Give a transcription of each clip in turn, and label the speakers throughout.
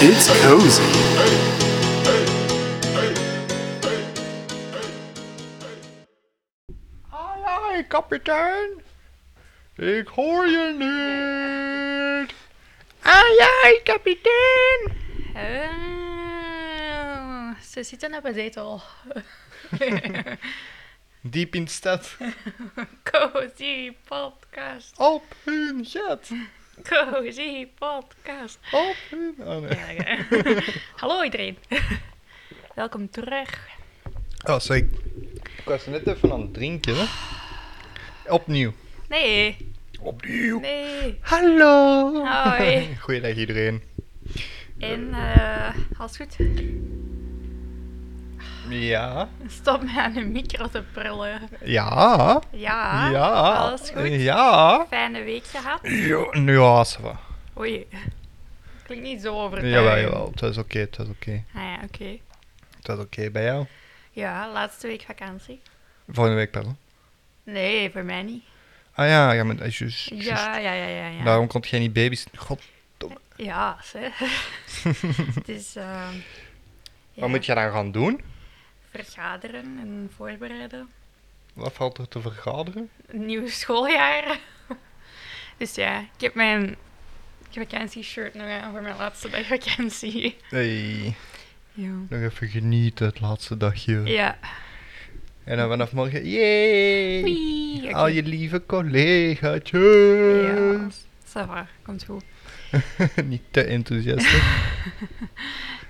Speaker 1: It's cozy.
Speaker 2: Allee, kapitein. Ik hoor je niet. Allee, kapitein.
Speaker 3: Oh, ze zitten op een zetel.
Speaker 2: Diep in de stad.
Speaker 3: Cozy podcast.
Speaker 2: Op hun jet.
Speaker 3: Cozy podcast.
Speaker 2: Op hun... Oh nee.
Speaker 3: Ja, ja. Hallo iedereen. Welkom terug.
Speaker 2: Oh, sorry. Ik was net even aan het drinken, hè. Opnieuw.
Speaker 3: Nee,
Speaker 2: Opnieuw.
Speaker 3: nee.
Speaker 2: Hallo.
Speaker 3: Hoi.
Speaker 2: Goeiedag iedereen.
Speaker 3: En eh, als het goed,
Speaker 2: Ja.
Speaker 3: stop me aan de micro te prullen.
Speaker 2: Ja.
Speaker 3: Ja,
Speaker 2: ja.
Speaker 3: Ah, alles goed.
Speaker 2: Ja.
Speaker 3: Fijne week gehad.
Speaker 2: Jo, nu was het wel.
Speaker 3: Oei, klinkt niet zo overtuigend.
Speaker 2: Jawel, jawel. Het is oké, het is oké.
Speaker 3: Ah ja, oké.
Speaker 2: Het is oké bij jou.
Speaker 3: Ja, laatste week vakantie.
Speaker 2: Volgende week, pardon.
Speaker 3: Nee, voor mij niet.
Speaker 2: Ah ja, ja, maar dat is juist. juist. Nou.
Speaker 3: Ja, ja, ja, ja. ja.
Speaker 2: Daarom kon jij niet baby's. God.
Speaker 3: Ja, zeg. het is ehm, ja,
Speaker 2: Wat moet je dan gaan doen?
Speaker 3: vergaderen en voorbereiden.
Speaker 2: Wat valt er te vergaderen?
Speaker 3: Een nieuw schooljaar. dus ja, ik heb mijn vakantieshirt nog aan voor mijn laatste dag vakantie.
Speaker 2: Hey,
Speaker 3: Ja.
Speaker 2: nog even genieten het laatste dagje.
Speaker 3: Ja.
Speaker 2: En dan vanaf morgen, yay!
Speaker 3: Wee, oké.
Speaker 2: Al je lieve collega's.
Speaker 3: Ça va, komt goed.
Speaker 2: niet te enthousiast. hè?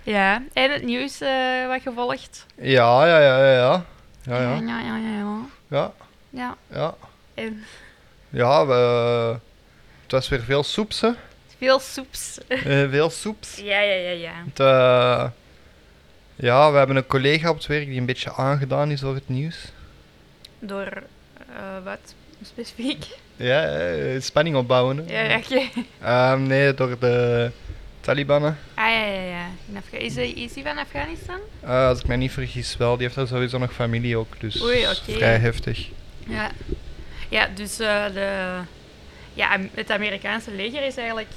Speaker 3: Ja, en het nieuws eh, wat gevolgd.
Speaker 2: ja, ja, ja, ja, ja. Ah, Ja, ja,
Speaker 3: ja, ja, ja. ja.
Speaker 2: ja,
Speaker 3: Ja,
Speaker 2: ja.
Speaker 3: en
Speaker 2: Ja, we, het was weer veel soeps, hè.
Speaker 3: veel soeps.
Speaker 2: Eh, veel soeps.
Speaker 3: ja, ja, ja, ja.
Speaker 2: Want, eh, ja, we hebben een collega op het werk die een beetje aangedaan is door het nieuws.
Speaker 3: Door eh, wat specifiek?
Speaker 2: Ja, eh, spanning opbouwen. hè.
Speaker 3: Ja, ja, oké.
Speaker 2: Ehm, nee, door de Talibanen.
Speaker 3: Ah ja, ja, ja. In Afga- is, hij, is hij van Afghanistan?
Speaker 2: Eh, als ik mij niet vergis, wel. Die heeft daar sowieso nog familie ook, dus
Speaker 3: Oei, oké.
Speaker 2: vrij heftig.
Speaker 3: Ja. Ja, dus eh, de, ja, Am- het Amerikaanse leger is eigenlijk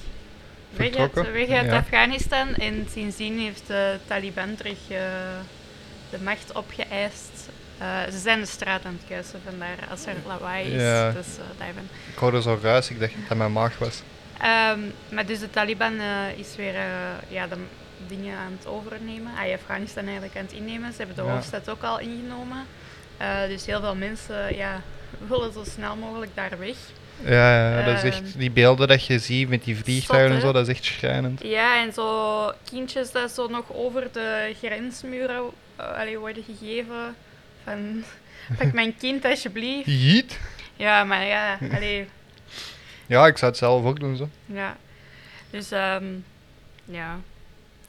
Speaker 3: weg uit,
Speaker 2: Vertrokken,
Speaker 3: weg uit
Speaker 2: ja.
Speaker 3: Afghanistan. En sindsdien heeft de Taliban terug eh, de macht opgeëist. Eh, ze zijn de straat aan het kuisen, vandaar als er lawaai is.
Speaker 2: Ja.
Speaker 3: Dus eh, daar ben
Speaker 2: Ik hoorde zo ruis, ik dacht dat dat mijn maag was.
Speaker 3: Ehm, maar dus de Taliban eh, is weer eh, ja, de m- dingen aan het overnemen. Ah, ja, Afghanistan eigenlijk aan het innemen. Ze hebben de
Speaker 2: Ja.
Speaker 3: hoofdstad ook al ingenomen. Eh, dus heel veel mensen ja, willen zo snel mogelijk daar weg.
Speaker 2: Ja, ja, dat is echt,
Speaker 3: Ehm,
Speaker 2: die beelden dat je ziet met die vliegtuigen en
Speaker 3: hè?
Speaker 2: zo, dat is echt schrijnend.
Speaker 3: Ja, en zo kindjes dat zo nog over de grensmuren eh, allee, worden gegeven. Van, pak mijn kind alsjeblieft.
Speaker 2: Jeet.
Speaker 3: Ja, maar ja, allee,
Speaker 2: Ja, ik zou het zelf ook doen zo.
Speaker 3: Ja. Dus, ehm ja.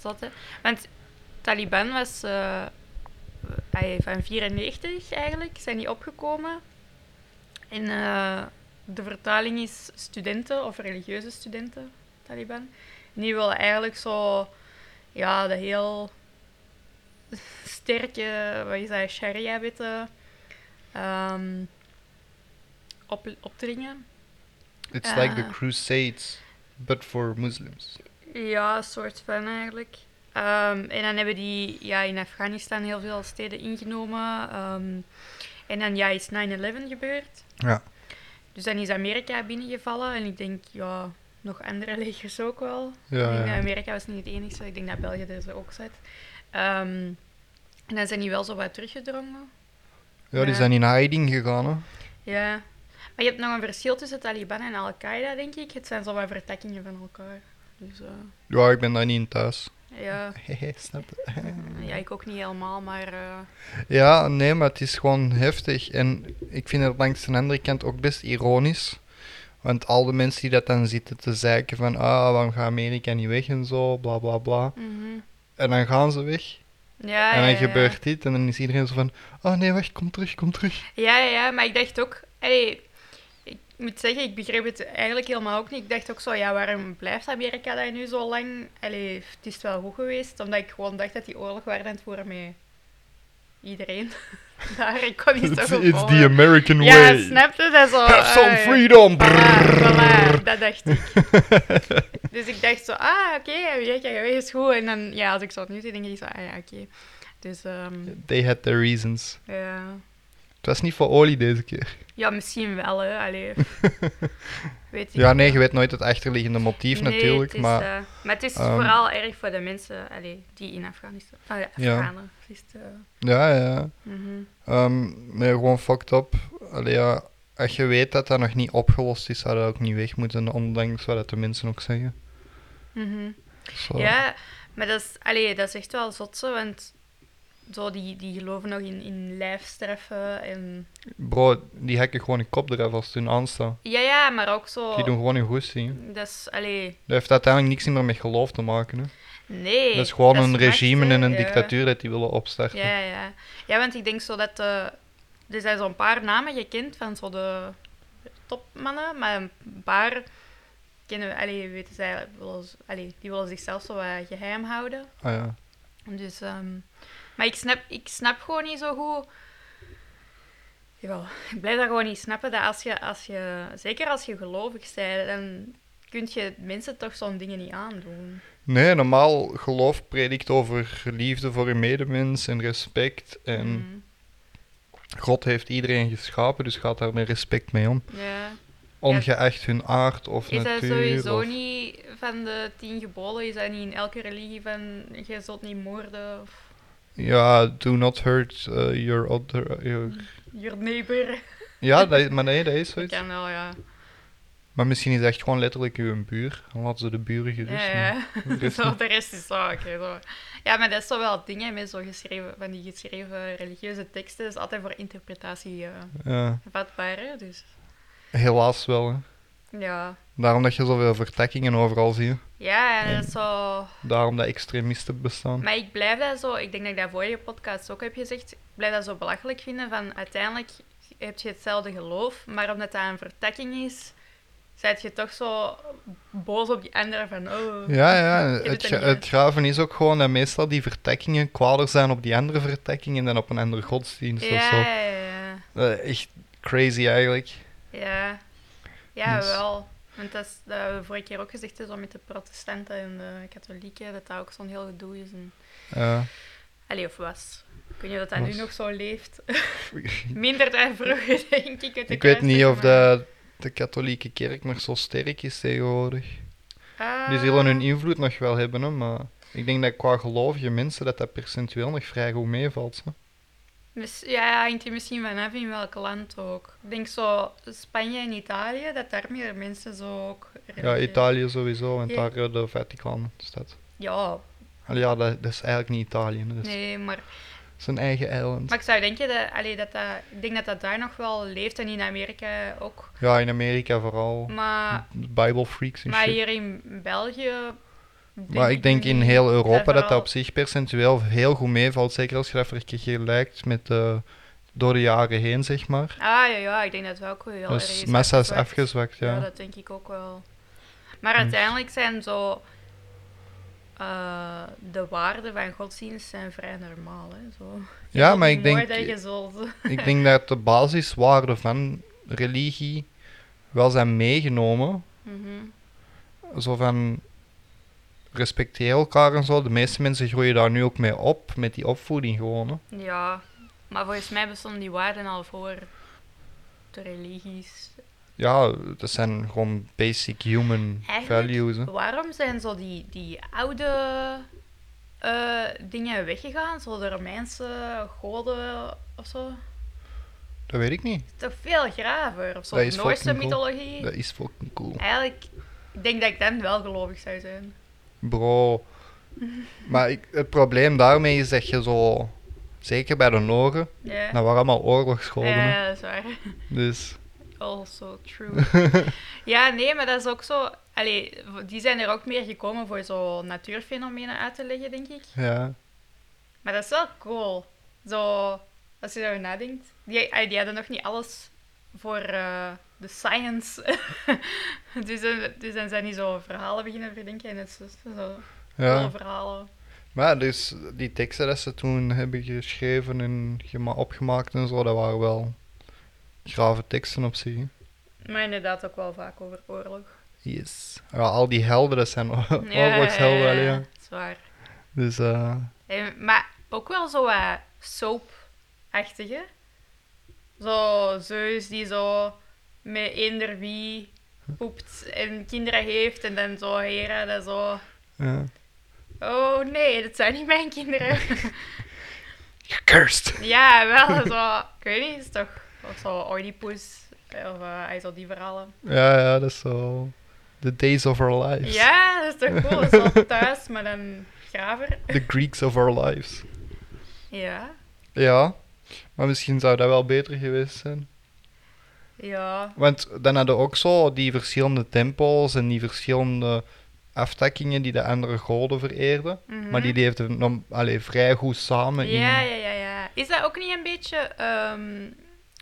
Speaker 3: Zat, hè. Want Taliban was eh, hij van 94 eigenlijk, zijn die opgekomen. En eh, de vertaling is studenten of religieuze studenten, Taliban. En die willen eigenlijk zo, ja, de heel sterke, wat is dat, sharia-wetten ehm, op, opdringen.
Speaker 2: It's like the
Speaker 3: Ah.
Speaker 2: Crusades, but for Muslims.
Speaker 3: Ja, een soort van eigenlijk. Ehm, en dan hebben die ja, in Afghanistan heel veel steden ingenomen. ehm, en dan ja, is 9-11 gebeurd.
Speaker 2: Ja.
Speaker 3: Dus dan is Amerika binnengevallen. En ik denk, ja, nog andere legers ook wel.
Speaker 2: Ja,
Speaker 3: ik denk
Speaker 2: ja.
Speaker 3: dat Amerika was niet het enige. Ik denk dat België er zo ook zat. Ehm, en dan zijn die wel zo wat teruggedrongen.
Speaker 2: Ja, die
Speaker 3: Ja.
Speaker 2: zijn in hiding gegaan, hè.
Speaker 3: Ja. Maar je hebt nog een verschil tussen Taliban en Al-Qaeda, denk ik. Het zijn zo wat vertakkingen van elkaar. Dus eh,
Speaker 2: Ja, ik ben daar niet in thuis.
Speaker 3: ja.
Speaker 2: Hehe, snap je?
Speaker 3: Ja, ik ook niet helemaal, maar eh,
Speaker 2: Ja, nee, maar het is gewoon heftig. En ik vind het langs de andere kant ook best ironisch. Want al de mensen die dat dan zitten te zeiken van... Ah, waarom gaat Amerika niet weg en zo, bla bla bla.
Speaker 3: mhm.
Speaker 2: En dan gaan ze weg.
Speaker 3: ja,
Speaker 2: en dan
Speaker 3: Ah, ja, ja.
Speaker 2: gebeurt dit en dan is iedereen zo van... Oh nee, wacht, kom terug, kom terug.
Speaker 3: Ja, ja, ja, maar ik dacht ook, allee, ik moet zeggen, ik begreep het eigenlijk helemaal ook niet. Ik dacht ook zo, ja, waarom blijft Amerika daar nu zo lang? Allee, het is wel goed geweest, omdat ik gewoon dacht dat die oorlog waren aan het voeren met iedereen. Daar, ik kon niet zo
Speaker 2: It's,
Speaker 3: goed
Speaker 2: it's the
Speaker 3: volgen.
Speaker 2: American
Speaker 3: Ja,
Speaker 2: way.
Speaker 3: snapte dat zo.
Speaker 2: Have some
Speaker 3: ah,
Speaker 2: freedom.
Speaker 3: Voilà,
Speaker 2: Brrrr.
Speaker 3: voilà, dat dacht ik. Dus ik dacht zo, ah, oké, weet je, is goed. En dan, ja, als ik zo nu zie, denk ik zo, ah ja, oké. Dus, ehm,
Speaker 2: They had their reasons.
Speaker 3: ja.
Speaker 2: Het was niet voor olie deze keer.
Speaker 3: Ja, misschien wel, hè. Allee. weet ik
Speaker 2: Ja, nee, je weet nooit het achterliggende motief
Speaker 3: Nee,
Speaker 2: natuurlijk,
Speaker 3: het is,
Speaker 2: maar
Speaker 3: eh, maar het is
Speaker 2: ehm,
Speaker 3: vooral erg voor de mensen allee, die in Afghanistan... Ah, ja,
Speaker 2: Ja.
Speaker 3: Afghanen. Het is, eh,
Speaker 2: ja, ja.
Speaker 3: mhm.
Speaker 2: Ehm, nee, gewoon fucked up. Allee, ja, als je weet dat dat nog niet opgelost is, zou dat ook niet weg moeten, ondanks wat dat de mensen ook zeggen.
Speaker 3: Mhm.
Speaker 2: Zo.
Speaker 3: Ja, maar dat is, allee, dat is echt wel zot zo, want zo, die, die geloven nog in, in lijfstreffen en...
Speaker 2: Bro, die hakken gewoon een kop eraf als ze hun aanstaan.
Speaker 3: Ja, ja, maar ook zo...
Speaker 2: Die doen gewoon hun goesting. hè.
Speaker 3: Dat is, allee...
Speaker 2: Dat heeft uiteindelijk niks meer met geloof te maken. Hè.
Speaker 3: Nee.
Speaker 2: dat is gewoon een
Speaker 3: macht,
Speaker 2: regime
Speaker 3: hè,
Speaker 2: en een
Speaker 3: ja.
Speaker 2: dictatuur dat die willen opstarten.
Speaker 3: Ja, ja, ja. Ja, want ik denk zo dat... eh, er zijn zo'n paar namen gekend van zo de topmannen, maar een paar kennen we... Allee, weten zij... Willen, ze- allee, die willen zichzelf zo wat geheim houden.
Speaker 2: Ah, ja.
Speaker 3: Dus, ehm, maar ik snap, ik snap gewoon niet zo goed. Jawel, ik blijf dat gewoon niet snappen. Dat als je, als je, zeker als je gelovig bent, dan kun je mensen toch zo'n dingen niet aandoen.
Speaker 2: Nee, normaal geloof predikt over liefde voor je medemens en respect. En
Speaker 3: Mhm.
Speaker 2: God heeft iedereen geschapen, dus gaat daar met respect mee om.
Speaker 3: Ja.
Speaker 2: Ongeacht hun aard of
Speaker 3: Is dat
Speaker 2: natuur.
Speaker 3: sowieso
Speaker 2: of-
Speaker 3: niet van de tien geboden? Is dat niet in elke religie van je zult niet moorden of
Speaker 2: Ja, do not hurt eh, your other... your-
Speaker 3: je neighbor?
Speaker 2: Ja, dat, is- maar nee, dat is
Speaker 3: Dat
Speaker 2: zoiets.
Speaker 3: kan wel, ja.
Speaker 2: Maar misschien is het echt gewoon letterlijk uw buur. Dan laten ze de buren gerust.
Speaker 3: Ja,
Speaker 2: maar-
Speaker 3: ja.
Speaker 2: Rust
Speaker 3: zo, de rest is zo, oké. zo. Ja, maar dat is zo wel dingen met zo geschreven, van die geschreven religieuze teksten. is altijd voor interpretatie eh,
Speaker 2: Ja,
Speaker 3: vatbaar, hè, dus
Speaker 2: helaas wel. Hè.
Speaker 3: ja.
Speaker 2: Daarom dat je zoveel vertakkingen overal ziet.
Speaker 3: Ja, en dat is zo...
Speaker 2: Daarom dat extremisten bestaan.
Speaker 3: Maar ik blijf dat zo, ik denk dat ik dat vorige podcast ook heb gezegd, ik blijf dat zo belachelijk vinden van uiteindelijk heb je hetzelfde geloof, maar omdat dat een vertakking is, zijt je toch zo boos op die anderen van, oh...
Speaker 2: Ja, ja.
Speaker 3: je doet
Speaker 2: Het,
Speaker 3: dat
Speaker 2: gra-
Speaker 3: niet, hè.
Speaker 2: het graven is ook gewoon dat meestal die vertakkingen kwaader zijn op die andere vertakkingen dan op een andere godsdienst of zo.
Speaker 3: ja, ja, ja.
Speaker 2: Eh, echt crazy eigenlijk.
Speaker 3: Ja, ja
Speaker 2: Dus-
Speaker 3: wel. Want dat is dat hebben we vorige keer ook gezegd is, met de protestanten en de katholieken, dat dat ook zo'n heel gedoe is. En...
Speaker 2: Ja.
Speaker 3: Allee, of was. Ik weet niet of dat nu
Speaker 2: Was.
Speaker 3: nog zo leeft. Minder dan vroeger, denk ik. met de
Speaker 2: ik weet niet of
Speaker 3: kruistochten,
Speaker 2: de, de katholieke kerk nog zo sterk is tegenwoordig.
Speaker 3: maar-
Speaker 2: Die zullen hun
Speaker 3: Ah,
Speaker 2: invloed nog wel hebben, hè, maar ik denk dat qua gelovige mensen dat dat percentueel nog vrij goed meevalt. Hè.
Speaker 3: mis- Ja, hangt er misschien vanaf in welk land ook. Ik denk zo Spanje en Italië, dat daar meer mensen zo ook...
Speaker 2: Ja,
Speaker 3: religie-
Speaker 2: Italië sowieso, want
Speaker 3: Ja.
Speaker 2: daar eh, de Vaticaan staat.
Speaker 3: Ja,
Speaker 2: Allee, ja, dat, dat is eigenlijk niet Italië, hè, dat is
Speaker 3: nee, maar
Speaker 2: zijn eigen eiland.
Speaker 3: Maar ik zou denken dat, allee, dat, dat, ik denk dat dat daar nog wel leeft en in Amerika ook.
Speaker 2: Ja, in Amerika vooral.
Speaker 3: Maar,
Speaker 2: Bible freaks en
Speaker 3: maar
Speaker 2: Hm, shit.
Speaker 3: hier in België.
Speaker 2: Maar ik denk in heel Europa dat dat
Speaker 3: vooral-
Speaker 2: op zich percentueel heel goed meevalt. Zeker als je dat vergelijkt met eh, door de jaren heen, zeg maar.
Speaker 3: Ah ja, ja, ik denk dat het ook wel heel
Speaker 2: Dat
Speaker 3: erg
Speaker 2: is Dus massa's
Speaker 3: afgezwakt.
Speaker 2: afgezwakt,
Speaker 3: Ja.
Speaker 2: ja. Hm.
Speaker 3: dat denk ik ook wel. Maar uiteindelijk zijn zo. eh, de waarden van godsdienst zijn vrij normaal. Hè, zo. Je
Speaker 2: Ja,
Speaker 3: zult
Speaker 2: maar ik
Speaker 3: mooi
Speaker 2: denk-
Speaker 3: dat je zult-
Speaker 2: Ik denk dat de basiswaarden van religie wel zijn meegenomen.
Speaker 3: Mhm.
Speaker 2: Zo van respecteer elkaar en zo. De meeste mensen groeien daar nu ook mee op, met die opvoeding gewoon. hè.
Speaker 3: Ja, maar volgens mij bestonden die waarden al voor de religies
Speaker 2: Ja, dat zijn gewoon basic human
Speaker 3: Eigenlijk
Speaker 2: values. hè.
Speaker 3: Waarom zijn zo die, die oude eh, dingen weggegaan? Zo de Romeinse goden of zo?
Speaker 2: Dat weet ik niet.
Speaker 3: Toch veel graver? Of zo
Speaker 2: Dat is
Speaker 3: de Noorse
Speaker 2: fucking cool.
Speaker 3: mythologie?
Speaker 2: Dat is fucking cool.
Speaker 3: Eigenlijk, ik denk dat ik dan wel gelovig zou zijn.
Speaker 2: Bro. Maar ik, het probleem daarmee is dat je zo, zeker bij de Noren,
Speaker 3: Ja,
Speaker 2: dat waren allemaal oorlogsgoden. hè.
Speaker 3: ja dat is waar.
Speaker 2: Dus
Speaker 3: Also true. ja, nee, maar dat is ook zo... Allee, die zijn er ook meer gekomen voor zo natuurfenomenen uit te leggen, denk ik.
Speaker 2: ja.
Speaker 3: Maar dat is wel cool. Zo, als je daarover nadenkt. Die, ah, die hadden nog niet alles voor eh, de science. eh, dus, dan- dus dan zijn die zo verhalen beginnen verdenken. En het is zo, zo
Speaker 2: ja.
Speaker 3: coole verhalen.
Speaker 2: Maar dus die teksten dat ze toen hebben geschreven en gema- opgemaakt en zo, dat waren wel grave teksten op zich. hè.
Speaker 3: Maar inderdaad ook wel vaak over oorlog.
Speaker 2: Yes. Ja, al die helden, dat zijn oorlogshelden.
Speaker 3: ja,
Speaker 2: allee,
Speaker 3: ja.
Speaker 2: Ja,
Speaker 3: Dat is waar.
Speaker 2: Dus eh,
Speaker 3: En, maar ook wel zo wat soap-achtige. Zo Zeus die zo met eender wie poept en kinderen heeft. En dan zo heren dat zo...
Speaker 2: ja.
Speaker 3: Oh nee, dat zijn niet mijn kinderen.
Speaker 2: Gecursed!
Speaker 3: ja, wel zo... Ik weet niet, is toch... Of zo Oedipus. Of eh, hij zo die verhalen.
Speaker 2: Ja, ja, dat is zo. The Days of Our Lives.
Speaker 3: Ja, dat is toch cool. Zo thuis, maar dan graver.
Speaker 2: The Greeks of Our Lives.
Speaker 3: Ja.
Speaker 2: Ja, maar misschien zou dat wel beter geweest zijn.
Speaker 3: Ja.
Speaker 2: Want dan hadden we ook zo die verschillende tempels en die verschillende aftakkingen die de andere goden vereerden.
Speaker 3: mhm.
Speaker 2: Maar die leefden nog- allee, vrij goed samen
Speaker 3: Ja,
Speaker 2: in.
Speaker 3: ja, ja, ja. Is dat ook niet een beetje ehm,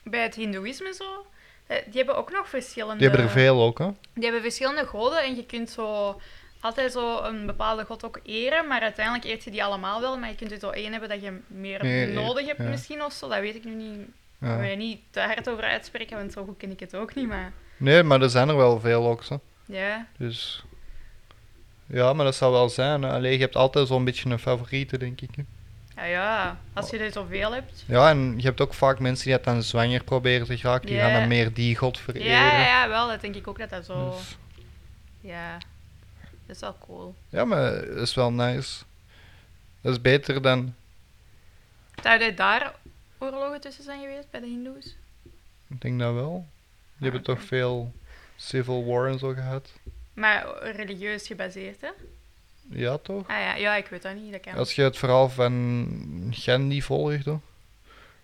Speaker 3: bij het Hindoeïsme zo? Eh, Die hebben ook nog verschillende.
Speaker 2: Die hebben er veel ook, hè?
Speaker 3: Die hebben verschillende goden en je kunt zo altijd zo een bepaalde god ook eren, maar uiteindelijk eert je die allemaal wel. Maar je kunt er zo één hebben dat je meer
Speaker 2: Meer eert,
Speaker 3: nodig hebt
Speaker 2: eh, ja.
Speaker 3: misschien of zo. Dat weet ik nu niet. Ik wil
Speaker 2: Ja.
Speaker 3: je niet te hard over uitspreken, want zo goed ken ik het ook niet. Maar
Speaker 2: Nee, maar er zijn er wel veel ook, zo.
Speaker 3: ja,
Speaker 2: Dus. Ja, maar dat zou wel zijn. hè. Allee, je hebt altijd zo'n beetje een favoriete, denk ik. hè.
Speaker 3: ja, ja. als je er zoveel hebt.
Speaker 2: Ja, en je hebt ook vaak mensen die dat dan zwanger proberen te geraken. Die gaan
Speaker 3: Ja.
Speaker 2: dan meer die god
Speaker 3: Ja,
Speaker 2: vereren.
Speaker 3: ja, ja, wel. Dat denk ik ook dat dat zo.
Speaker 2: Dus-
Speaker 3: Ja, dat is wel cool.
Speaker 2: ja, maar dat is wel nice. Dat is beter dan.
Speaker 3: Zouden er daar oorlogen tussen zijn geweest bij de Hindoes?
Speaker 2: Ik denk dat wel. Die hebben
Speaker 3: oké.
Speaker 2: toch veel civil war en zo gehad.
Speaker 3: Maar religieus gebaseerd, hè?
Speaker 2: Ja, toch?
Speaker 3: Ah ja, ja ik weet dat niet. Dat kan.
Speaker 2: Als je het verhaal van Gandhi volgde,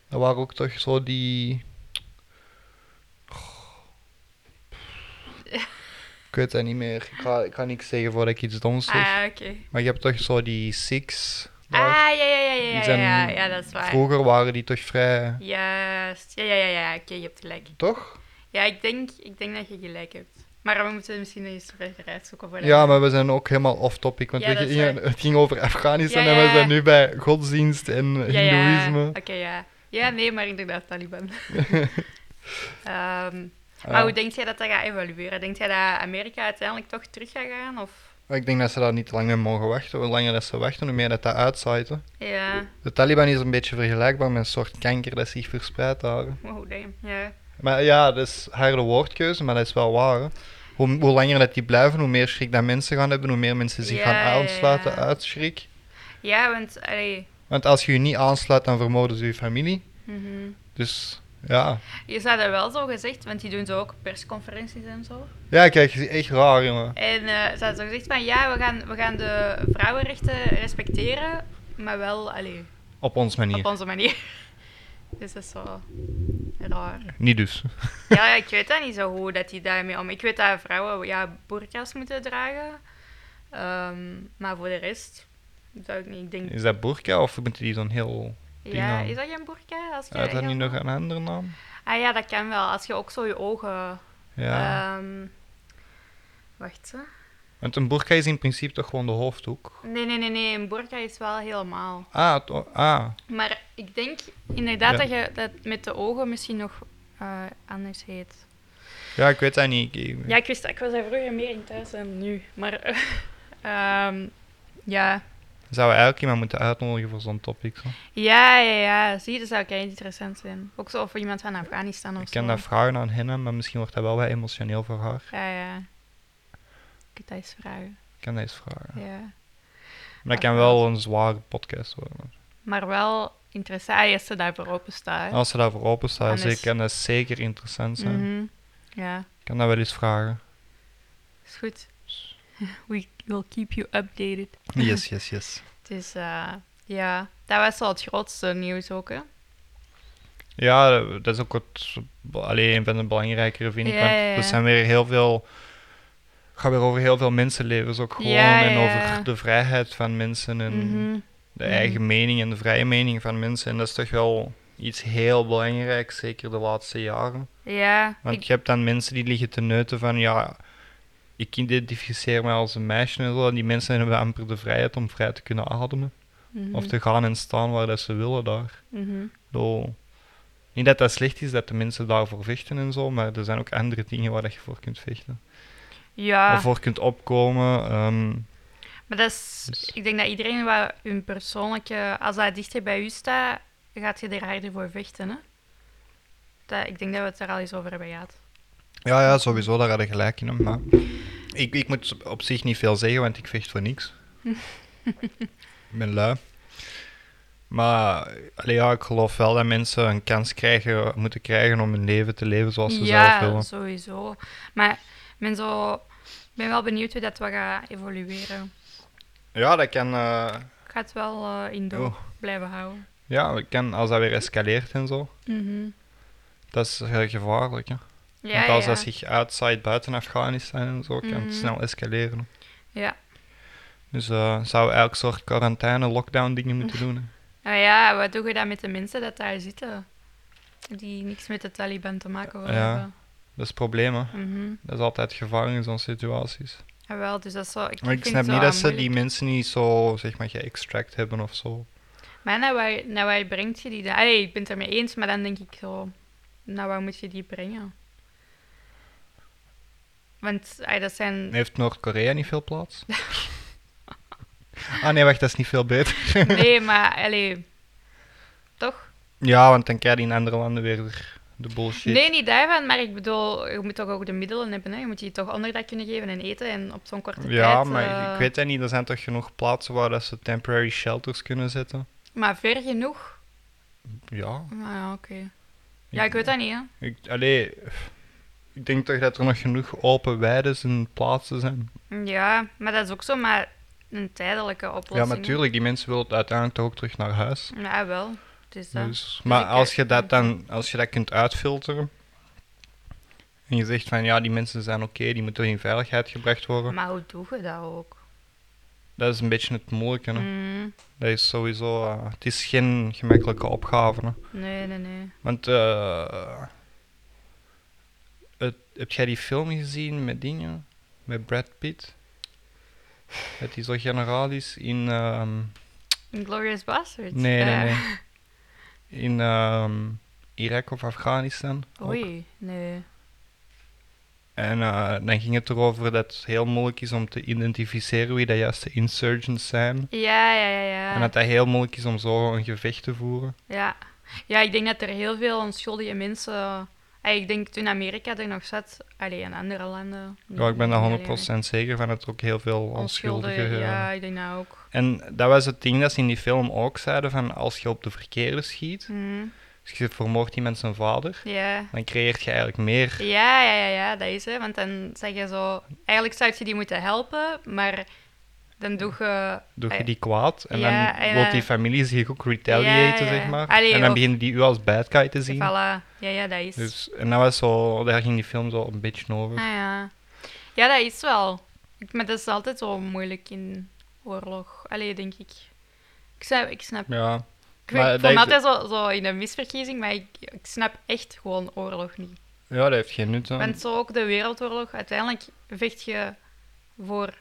Speaker 2: dan waren ook toch zo die. Ik weet dat niet meer. Ik ga, ik ga niks zeggen voordat ik iets doms zeg.
Speaker 3: ah, oké.
Speaker 2: Maar je hebt toch zo die Six. daar.
Speaker 3: Ah, ja, ja, ja,
Speaker 2: Die
Speaker 3: ja, ja,
Speaker 2: zijn
Speaker 3: ja, ja, dat is waar.
Speaker 2: Vroeger waren die toch vrij.
Speaker 3: Juist. Ja, ja, ja, ja, oké, je hebt gelijk.
Speaker 2: Toch?
Speaker 3: Ja, ik denk, ik denk dat je gelijk hebt. Maar we moeten misschien nog eens verder uitzoeken voor
Speaker 2: Ja, maar we zijn ook helemaal off-topic. Want
Speaker 3: Ja,
Speaker 2: we
Speaker 3: dat is
Speaker 2: gingen-
Speaker 3: waar.
Speaker 2: het ging over Afghanistan
Speaker 3: Ja,
Speaker 2: en
Speaker 3: ja.
Speaker 2: we zijn nu bij godsdienst en
Speaker 3: ja, ja.
Speaker 2: Hindoeïsme.
Speaker 3: Oké, ja. Ja, nee, maar inderdaad, Taliban. Ehm,
Speaker 2: Ja.
Speaker 3: maar hoe denk jij dat dat gaat evolueren? Denk jij dat Amerika uiteindelijk toch terug gaat gaan? Of?
Speaker 2: Maar ik denk dat ze daar niet te lang mee mogen wachten. Hoe langer dat ze wachten, hoe meer dat dat uitzaait. hè.
Speaker 3: Ja,
Speaker 2: De Taliban is een beetje vergelijkbaar met een soort kanker dat zich verspreidt daar.
Speaker 3: wow, damn. Ja.
Speaker 2: Maar ja, dat is harde woordkeuze, maar dat is wel waar. hè. Hoe, hoe langer dat die blijven, hoe meer schrik dat mensen gaan hebben, hoe meer mensen zich
Speaker 3: Ja, ja,
Speaker 2: gaan
Speaker 3: ja.
Speaker 2: aansluiten uit schrik.
Speaker 3: Ja, want, allee,
Speaker 2: Want als je je niet aansluit, dan vermoorden ze je familie.
Speaker 3: mhm.
Speaker 2: Dus ja.
Speaker 3: je zou dat wel zo gezegd, want die doen zo ook persconferenties en zo.
Speaker 2: Ja, kijk, het is echt raar, jongen.
Speaker 3: En eh, ze hadden zo gezegd van, ja, we gaan, we gaan de vrouwenrechten respecteren, maar wel, allee,
Speaker 2: Op ons manier.
Speaker 3: op onze manier. Dus dat is zo raar.
Speaker 2: Niet dus.
Speaker 3: Ja, ik weet dat niet zo goed dat die daarmee om. Ik weet dat vrouwen ja, burkas moeten dragen, Ehm, maar voor de rest zou ik niet. Ik denk,
Speaker 2: Is dat burka of moet die dan heel...
Speaker 3: ja,
Speaker 2: dan?
Speaker 3: is dat geen burka? Als je
Speaker 2: Uit dat
Speaker 3: heel-
Speaker 2: niet nog een andere naam?
Speaker 3: Ah ja, dat kan wel. Als je ook zo je ogen.
Speaker 2: Ja.
Speaker 3: ehm, wacht. Hè.
Speaker 2: Want een burka is in principe toch gewoon de hoofddoek.
Speaker 3: Nee, nee, nee, nee. Een burka is wel helemaal.
Speaker 2: Ah, to- ah.
Speaker 3: Maar ik denk inderdaad
Speaker 2: Ja.
Speaker 3: dat je dat met de ogen misschien nog eh, anders heet.
Speaker 2: Ja, ik weet dat niet. Ik-
Speaker 3: Ja, ik wist dat. Ik was daar vroeger meer in thuis dan nu. Maar ehm, ja.
Speaker 2: Zou we eigenlijk iemand moeten uitnodigen voor zo'n topic? Zo?
Speaker 3: Ja, ja, ja. Zie, dat zou kei interessant zijn. Ook zo voor iemand van Afghanistan of
Speaker 2: Ik
Speaker 3: zo.
Speaker 2: kan dat vragen aan hen, maar misschien wordt dat wel wat emotioneel voor haar.
Speaker 3: Ja, ja. Ik kan dat eens vragen.
Speaker 2: Ik kan dat eens vragen.
Speaker 3: Ja.
Speaker 2: Maar
Speaker 3: Ah,
Speaker 2: dat kan wel een zware podcast worden.
Speaker 3: Maar wel interessant ah, als ze daarvoor openstaan.
Speaker 2: Als ze daarvoor open staan,
Speaker 3: Dan is-
Speaker 2: zeker, kan dat zeker interessant zijn.
Speaker 3: Mhm. Ja,
Speaker 2: Ik kan dat wel eens vragen.
Speaker 3: is goed. We will keep you updated.
Speaker 2: Yes, yes, yes.
Speaker 3: Dus eh, ja, dat was wel het grootste nieuws ook, hè?
Speaker 2: Ja, dat is ook het, alleen een van de belangrijkere, vind ik.
Speaker 3: Ja,
Speaker 2: want
Speaker 3: ja, ja.
Speaker 2: er zijn weer heel veel. Het gaat weer over heel veel mensenlevens ook gewoon.
Speaker 3: Ja,
Speaker 2: En
Speaker 3: ja, ja.
Speaker 2: over de vrijheid van mensen en
Speaker 3: Mhm.
Speaker 2: de eigen mening en de vrije mening van mensen. En dat is toch wel iets heel belangrijks, zeker de laatste jaren.
Speaker 3: Ja,
Speaker 2: Want
Speaker 3: ik-
Speaker 2: je hebt dan mensen die liggen te neuten van ja, ik identificeer me als een meisje en zo. En die mensen hebben amper de vrijheid om vrij te kunnen ademen.
Speaker 3: Mhm.
Speaker 2: Of te gaan en staan waar dat ze willen daar.
Speaker 3: Mhm.
Speaker 2: Zo. Niet dat dat slecht is dat de mensen daarvoor vechten en zo, maar er zijn ook andere dingen waar dat je voor kunt vechten.
Speaker 3: Ja,
Speaker 2: Of voor kunt opkomen. ehm,
Speaker 3: maar dat is,
Speaker 2: dus-
Speaker 3: ik denk dat iedereen wel hun persoonlijke... Als dat dichter bij u staat, gaat je er harder voor vechten, hè? Dat, ik denk dat we het er al eens over hebben gehad.
Speaker 2: Ja, ja, sowieso, daar had je gelijk in. Maar ik, ik moet op zich niet veel zeggen, want ik vecht voor niks. ik ben lui. Maar allee, ja, ik geloof wel dat mensen een kans krijgen, moeten krijgen om hun leven te leven zoals ze
Speaker 3: ja,
Speaker 2: zelf willen.
Speaker 3: sowieso. Maar ik ben, zo, ik ben wel benieuwd hoe dat wat gaat evolueren.
Speaker 2: Ja, dat kan, eh,
Speaker 3: Ik ga het wel eh, in door
Speaker 2: Oh.
Speaker 3: blijven houden.
Speaker 2: ja, dat kan als dat weer escaleert en zo.
Speaker 3: Mhm.
Speaker 2: Dat is heel gevaarlijk. Hè?
Speaker 3: Ja,
Speaker 2: Want als
Speaker 3: ja.
Speaker 2: dat zich outside buiten Afghanistan en zo, kan
Speaker 3: Mhm.
Speaker 2: het snel escaleren.
Speaker 3: ja.
Speaker 2: Dus eh zou elk soort quarantaine, lockdown dingen moeten doen. hè.
Speaker 3: Nou ja, wat doe je dan met de mensen dat daar zitten? Die niks met de Taliban te maken willen
Speaker 2: Ja.
Speaker 3: hebben.
Speaker 2: Dat is het probleem, hè.
Speaker 3: Mhm.
Speaker 2: Dat is altijd gevaar in zo'n situaties.
Speaker 3: Jawel, dus dat is zo... Ik,
Speaker 2: Maar ik
Speaker 3: vind
Speaker 2: snap
Speaker 3: het
Speaker 2: niet
Speaker 3: zo
Speaker 2: dat ze die
Speaker 3: moeilijk.
Speaker 2: mensen niet zo, zeg maar, geëxtract hebben of zo.
Speaker 3: Maar naar waar, naar waar brengt je die dan? Allee, ik ben het ermee eens, maar dan denk ik zo... Naar waar moet je die brengen? Want allee, dat zijn...
Speaker 2: Heeft Noord-Korea niet veel plaats? ah nee, wacht, dat is niet veel beter.
Speaker 3: Nee, maar... Allee, toch?
Speaker 2: Ja, want dan krijg je in andere landen weer de bullshit.
Speaker 3: Nee, niet daarvan, maar ik bedoel... Je moet toch ook de middelen hebben, hè? Je moet je toch onderdak kunnen geven en eten en op zo'n korte tijd...
Speaker 2: ja, maar
Speaker 3: eh,
Speaker 2: ik weet dat niet. Er zijn toch genoeg plaatsen waar dat ze temporary shelters kunnen zetten?
Speaker 3: Maar ver genoeg?
Speaker 2: Ja.
Speaker 3: Maar Ah, ja, oké. Ja, ik weet dat niet, hè?
Speaker 2: Ik, allee, ik denk toch dat er nog genoeg open weides en plaatsen zijn.
Speaker 3: Ja, maar dat is ook zo maar een tijdelijke
Speaker 2: Ja,
Speaker 3: oplossing.
Speaker 2: maar tuurlijk, die mensen willen uiteindelijk toch ook terug naar huis.
Speaker 3: Ja, wel. Dus dat.
Speaker 2: Dus, maar
Speaker 3: ik
Speaker 2: als
Speaker 3: kijk-
Speaker 2: je dat dan als je dat kunt uitfilteren en je zegt van ja, die mensen zijn oké, die moeten in veiligheid gebracht worden,
Speaker 3: Maar hoe doe je dat ook?
Speaker 2: dat is een beetje het moeilijke. hè.
Speaker 3: Mm,
Speaker 2: Dat is sowieso, eh, het is geen gemakkelijke opgave. hè.
Speaker 3: nee, nee, nee.
Speaker 2: Want eh het, heb jij die film gezien met dingen, met Brad Pitt? Dat hij zo generaal is in. ehm,
Speaker 3: Glorious Bastards?
Speaker 2: nee, nee,
Speaker 3: Eh,
Speaker 2: nee. In ehm, Irak of Afghanistan. ook.
Speaker 3: Oei, nee.
Speaker 2: En eh, dan ging het erover dat het heel moeilijk is om te identificeren wie de juiste insurgents zijn.
Speaker 3: Ja, ja, ja, ja.
Speaker 2: En dat dat heel moeilijk is om zo een gevecht te voeren.
Speaker 3: ja. Ja, ik denk dat er heel veel onschuldige mensen... Eh, ik denk toen Amerika er nog zat... Allee, in andere landen.
Speaker 2: Ja, ik ben
Speaker 3: Niet
Speaker 2: daar
Speaker 3: alleen
Speaker 2: 100% zeker van dat er ook heel veel onschuldigen...
Speaker 3: onschuldigen.
Speaker 2: eh,
Speaker 3: Ja, ik denk dat ook.
Speaker 2: En dat was het ding dat ze in die film ook zeiden: van als je op de verkeerde schiet,
Speaker 3: Mm,
Speaker 2: dus je vermoordt iemand zijn vader,
Speaker 3: ja.
Speaker 2: dan creëert je eigenlijk meer.
Speaker 3: Ja, ja, ja, ja, dat is het. Want dan zeg je zo... Eigenlijk zou je die moeten helpen, maar dan doe je...
Speaker 2: Doe je
Speaker 3: eh,
Speaker 2: die kwaad en
Speaker 3: Ja,
Speaker 2: dan
Speaker 3: en
Speaker 2: wordt
Speaker 3: dan-
Speaker 2: die familie zich ook retaliaten,
Speaker 3: Ja, ja.
Speaker 2: zeg maar.
Speaker 3: Allee,
Speaker 2: en dan
Speaker 3: of-
Speaker 2: beginnen die u als bad guy te zien.
Speaker 3: Voilà. Ja, ja, dat is.
Speaker 2: Dus, en dat was zo, daar ging die film zo een beetje over.
Speaker 3: Ah ja. Ja, dat is wel. Ik- Maar dat is altijd zo moeilijk in oorlog. Allee, denk ik. Ik snap... Ik, snap.
Speaker 2: Ja,
Speaker 3: ik, weet-
Speaker 2: Maar
Speaker 3: ik
Speaker 2: dat
Speaker 3: vond
Speaker 2: is-
Speaker 3: altijd zo, zo in een misverkiezing, maar ik, ik snap echt gewoon oorlog niet.
Speaker 2: ja dat heeft geen nut. hè.
Speaker 3: Want zo ook de wereldoorlog, uiteindelijk vecht je voor...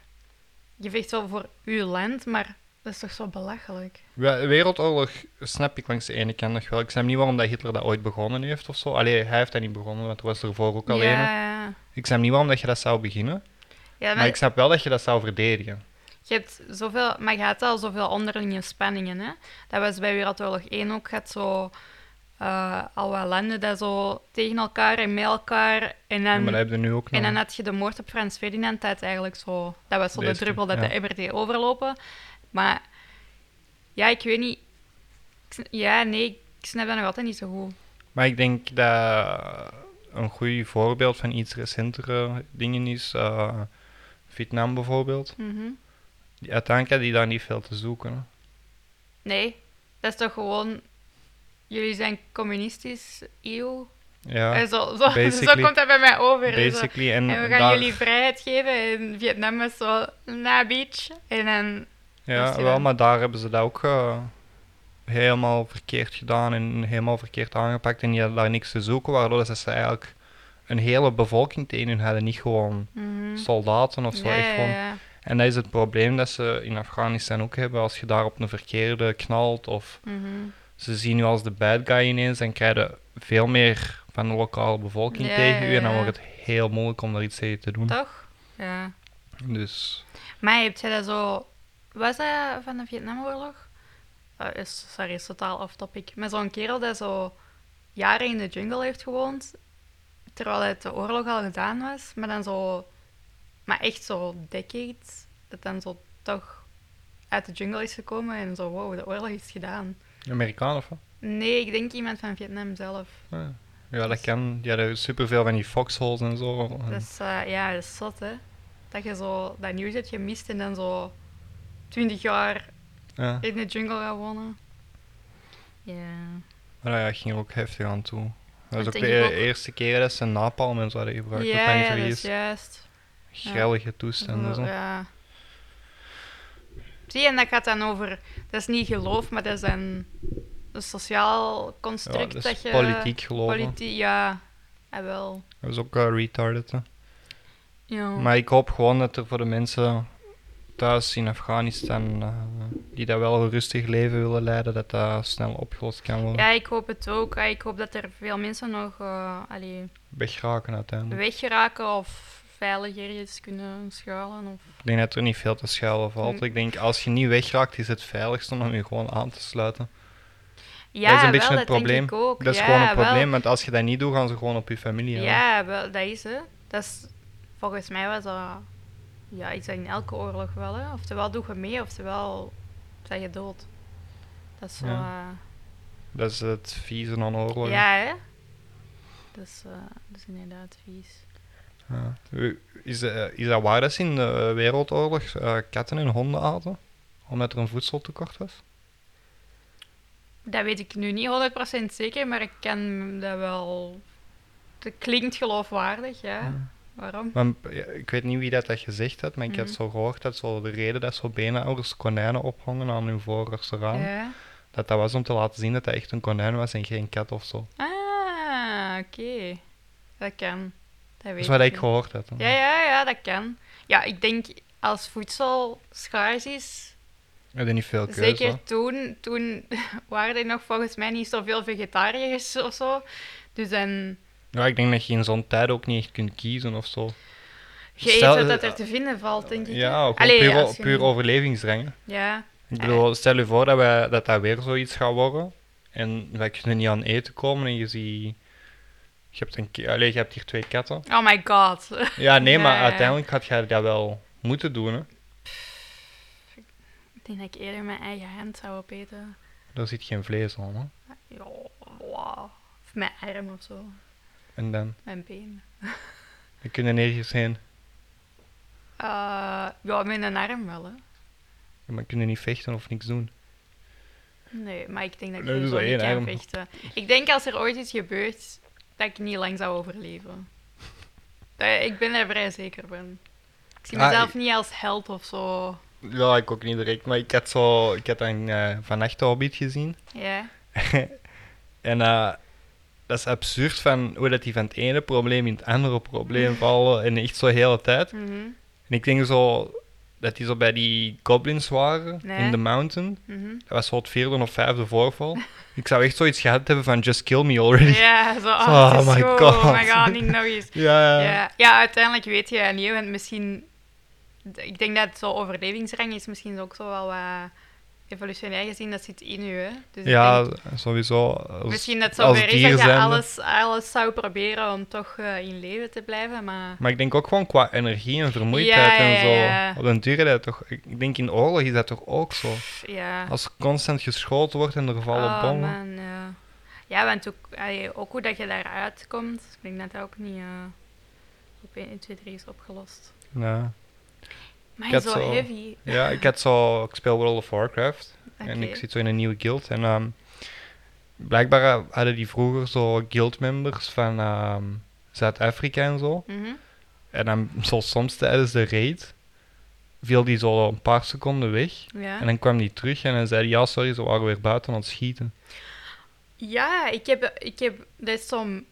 Speaker 3: Je vecht wel voor uw land, maar dat is toch zo belachelijk.
Speaker 2: We- Wereldoorlog snap ik langs de ene kant nog wel. Ik snap niet waarom dat Hitler dat ooit begonnen heeft of zo. Allee, hij heeft dat niet begonnen, want er was ervoor ook al
Speaker 3: ja,
Speaker 2: een.
Speaker 3: ja.
Speaker 2: Ik snap niet waarom dat je dat zou beginnen.
Speaker 3: Ja, maar
Speaker 2: Maar ik snap wel dat je dat zou verdedigen.
Speaker 3: Je hebt zoveel, maar je had al zoveel onderlinge spanningen. Hè? Dat was bij Wereldoorlog 1 ook. Je had zo eh, al wat landen dat zo tegen elkaar en met elkaar. En
Speaker 2: Ja, maar dat
Speaker 3: dan,
Speaker 2: heb je nu ook nog.
Speaker 3: Ehm, en dan had je de moord op Frans Ferdinand. Dat, eigenlijk zo, dat was zo de
Speaker 2: Deze,
Speaker 3: druppel dat
Speaker 2: ja.
Speaker 3: de emmer deed overlopen. Maar ja, ik weet niet. Ik sn- ja, nee, ik snap dat nog altijd niet zo goed.
Speaker 2: Maar ik denk dat een goed voorbeeld van iets recentere dingen is eh, Vietnam bijvoorbeeld.
Speaker 3: Mhm.
Speaker 2: Die- Uiteindelijk had die daar niet veel te zoeken. hè.
Speaker 3: Nee, dat is toch gewoon. Jullie zijn communistisch, eeuw.
Speaker 2: Ja,
Speaker 3: En zo, zo, zo
Speaker 2: basically.
Speaker 3: komt Eh, dat bij mij over. hè, zo.
Speaker 2: basically. En,
Speaker 3: En we gaan
Speaker 2: daar,
Speaker 3: jullie vrijheid geven en Vietnam is zo na beach. En dan,
Speaker 2: ja,
Speaker 3: Amsterdam.
Speaker 2: wel, maar daar hebben ze dat ook eh, helemaal verkeerd gedaan en helemaal verkeerd aangepakt. En die hadden daar niks te zoeken, waardoor dat ze eigenlijk een hele bevolking tegen hun hadden, niet gewoon
Speaker 3: Mhm.
Speaker 2: soldaten of zo.
Speaker 3: Ja,
Speaker 2: echt
Speaker 3: ja,
Speaker 2: gewoon-
Speaker 3: ja.
Speaker 2: En dat is het probleem dat ze in Afghanistan ook hebben. Als je daar op een verkeerde knalt of
Speaker 3: Mhm.
Speaker 2: ze zien je als de bad guy ineens, dan krijg je veel meer van de lokale bevolking
Speaker 3: Ja,
Speaker 2: tegen je. En dan
Speaker 3: ja, ja.
Speaker 2: wordt het heel moeilijk om daar iets tegen te doen.
Speaker 3: Toch? Ja.
Speaker 2: Dus
Speaker 3: Maar hebt jij dat zo... Was dat van de Vietnamoorlog? Eh, is, sorry, is totaal off-topic. Maar zo'n kerel dat zo jaren in de jungle heeft gewoond, terwijl het de oorlog al gedaan was, maar dan zo... Maar echt zo decades, dat dan zo toch uit de jungle is gekomen en zo, wow, de oorlog is gedaan.
Speaker 2: Amerikaan of wat?
Speaker 3: Nee, ik denk iemand van Vietnam zelf.
Speaker 2: Ja. Ja, dat kan. Ja, er is superveel van die foxholes en zo. En-
Speaker 3: Dus eh, ja, dat is zot, hè. Dat je zo dat nieuws hebt gemist en dan zo 20 jaar
Speaker 2: ja.
Speaker 3: in de jungle gaan wonen. Ja.
Speaker 2: Maar ja, dat ging ook heftig aan toe. Dat is
Speaker 3: Dat
Speaker 2: ook
Speaker 3: denk ik
Speaker 2: de e-
Speaker 3: ook.
Speaker 2: eerste keer dat ze napalm en zo hadden gebruikt.
Speaker 3: Ja,
Speaker 2: Ja,
Speaker 3: ja, dat is
Speaker 2: vergis.
Speaker 3: juist.
Speaker 2: Grillige toestanden. en
Speaker 3: Zo,
Speaker 2: Zo.
Speaker 3: Ja. Zie, en dat gaat dan over... Dat is niet geloof, maar dat is een, een sociaal
Speaker 2: Ja,
Speaker 3: construct
Speaker 2: dat
Speaker 3: dat,
Speaker 2: is
Speaker 3: je... eh,
Speaker 2: politiek geloven.
Speaker 3: Politie, ja. Ja, wel.
Speaker 2: Dat is ook eh, retarded. Hè.
Speaker 3: Ja.
Speaker 2: Maar ik hoop gewoon dat er voor de mensen thuis in Afghanistan, eh, die dat wel een rustig leven willen leiden, dat dat snel opgelost kan worden.
Speaker 3: ja, ik hoop het ook. Ja, Ik hoop dat er veel mensen nog eh allee,
Speaker 2: Wegraken uiteindelijk.
Speaker 3: weggeraken of veiliger iets kunnen schuilen. Of...
Speaker 2: Ik denk dat er niet veel te schuilen valt.
Speaker 3: Mm.
Speaker 2: Ik denk, als je niet wegraakt, is het veiligst om je gewoon aan te sluiten.
Speaker 3: Ja,
Speaker 2: dat is een
Speaker 3: wel,
Speaker 2: beetje het
Speaker 3: dat denk
Speaker 2: probleem.
Speaker 3: ik ook.
Speaker 2: Dat is
Speaker 3: Ja,
Speaker 2: gewoon een
Speaker 3: wel.
Speaker 2: probleem, want als je dat niet doet, gaan ze gewoon op je familie.
Speaker 3: Ja,
Speaker 2: aan.
Speaker 3: wel, dat is hè. Dat is, volgens mij was dat ja, iets dat in elke oorlog wel. Hè. Oftewel doe je mee, oftewel zijn je dood. Dat is zo.
Speaker 2: Ja.
Speaker 3: Ja,
Speaker 2: Dat is het vieze aan oorlog.
Speaker 3: ja hè? Dat is, eh, dat is inderdaad vies.
Speaker 2: Ja. U- Is, eh, is dat waar dat ze in de Wereldoorlog eh, katten en honden aten? Omdat er een voedseltekort was?
Speaker 3: Dat weet ik nu niet 100% zeker, maar ik ken dat wel. Dat klinkt geloofwaardig, ja.
Speaker 2: Ja.
Speaker 3: Waarom?
Speaker 2: Maar, ja, ik weet niet wie dat, dat gezegd had, maar ik had
Speaker 3: Mhm.
Speaker 2: zo gehoord dat zo de reden dat zo beenhouwers konijnen ophangen aan hun voorste raam,
Speaker 3: Ja.
Speaker 2: dat dat was om te laten zien dat dat echt een konijn was en geen kat of zo.
Speaker 3: Ah, oké. Dat kan.
Speaker 2: Dat
Speaker 3: Dat weet
Speaker 2: is wat
Speaker 3: ik
Speaker 2: ik
Speaker 3: niet.
Speaker 2: gehoord had. hè.
Speaker 3: Ja, ja, ja, dat kan. Ja, ik denk als voedsel schaars is,
Speaker 2: Ik had er niet veel keuze. hoor.
Speaker 3: zeker toen, toen waren er nog volgens mij niet zoveel vegetariërs of zo. Dus dan
Speaker 2: Ja, ik denk dat je in zo'n tijd ook niet echt kunt kiezen of zo.
Speaker 3: je eet
Speaker 2: Stel- eh,
Speaker 3: wat dat er te vinden valt, denk ik. hè.
Speaker 2: Ja, ook
Speaker 3: Allee,
Speaker 2: puur,
Speaker 3: als je
Speaker 2: puur
Speaker 3: niet-
Speaker 2: overlevingsdrang. hè.
Speaker 3: Ja,
Speaker 2: Ik bedoel, stel je voor dat, wij, dat dat weer zoiets gaat worden. En wij kunnen niet aan eten komen en je ziet... Je hebt, een, ki- allee, je hebt hier twee katten.
Speaker 3: oh my god.
Speaker 2: Ja, nee, maar
Speaker 3: Ja.
Speaker 2: uiteindelijk had jij dat wel moeten doen. Hè.
Speaker 3: ik denk dat ik eerder mijn eigen hand zou opeten.
Speaker 2: Daar zit geen vlees aan. Hè.
Speaker 3: Ja, wow. Of mijn arm of zo,
Speaker 2: En dan,
Speaker 3: mijn been.
Speaker 2: we kunnen nergens heen.
Speaker 3: Eh, ja, mijn arm wel, hè.
Speaker 2: Maar we kunnen niet vechten of niks doen.
Speaker 3: Nee, maar ik denk dat ik
Speaker 2: Nee, dat is
Speaker 3: sowieso niet
Speaker 2: wel één
Speaker 3: kan
Speaker 2: arm.
Speaker 3: vechten. Ik denk als er ooit iets gebeurt, dat ik niet lang zou overleven. Eh, Ik ben er vrij zeker van. Ik zie
Speaker 2: Ah,
Speaker 3: mezelf
Speaker 2: ik-
Speaker 3: niet als held of zo.
Speaker 2: Ja, ik ook niet direct. Maar ik had, zo, ik had dan eh, vannacht de Hobbit gezien.
Speaker 3: Ja.
Speaker 2: En eh, dat is absurd van hoe dat die van het ene probleem in het andere probleem vallen. En echt zo de hele tijd.
Speaker 3: Mhm,
Speaker 2: En ik denk zo dat die zo bij die goblins waren
Speaker 3: Nee.
Speaker 2: in The Mountain.
Speaker 3: mhm.
Speaker 2: Dat was zo het vierde of vijfde voorval. ik zou echt zoiets gehad hebben van just kill me already.
Speaker 3: Ja, zo. Oh,
Speaker 2: Oh
Speaker 3: my
Speaker 2: my
Speaker 3: god.
Speaker 2: God.
Speaker 3: Oh my god, niet nog eens.
Speaker 2: Ja, ja.
Speaker 3: Ja, ja, uiteindelijk weet je dat niet, want misschien... Ik denk dat zo overlevingsrang is misschien ook zo wel wat evolutionair gezien, dat zit in je. hè. Dus ik denk-
Speaker 2: Ja, sowieso. Als,
Speaker 3: Misschien dat zo
Speaker 2: als
Speaker 3: weer is
Speaker 2: dier
Speaker 3: dat je
Speaker 2: zijnde.
Speaker 3: alles, alles zou proberen om toch eh, in leven te blijven, maar...
Speaker 2: Maar ik denk ook gewoon qua energie en vermoeidheid
Speaker 3: Ja, ja,
Speaker 2: en zo.
Speaker 3: ja.
Speaker 2: Op den duur, is dat toch, ik denk in oorlog is dat toch ook zo.
Speaker 3: pff, Ja.
Speaker 2: Als er constant geschoten wordt en er vallen
Speaker 3: Oh,
Speaker 2: bommen.
Speaker 3: man, ja. Ja, want ook, allee, ook hoe dat je daaruit komt, ik denk dat dat ook niet eh, op 1, 2, 3 is opgelost.
Speaker 2: Ja.
Speaker 3: Maar
Speaker 2: Ik
Speaker 3: hij is
Speaker 2: had
Speaker 3: zo
Speaker 2: zo-
Speaker 3: heavy.
Speaker 2: Ja, ik had zo. Ik speel World of Warcraft. En
Speaker 3: Oké.
Speaker 2: ik zit zo in een nieuwe guild. En ehm, blijkbaar eh, hadden die vroeger zo guildmembers van ehm, Zuid-Afrika en zo.
Speaker 3: Mhm.
Speaker 2: En dan zo soms tijdens de raid viel die zo een paar seconden weg.
Speaker 3: Ja.
Speaker 2: En dan kwam die terug en dan zei die, ja sorry, ze waren weer buiten aan het schieten.
Speaker 3: Ja, ik heb, ik heb, dat is zo'n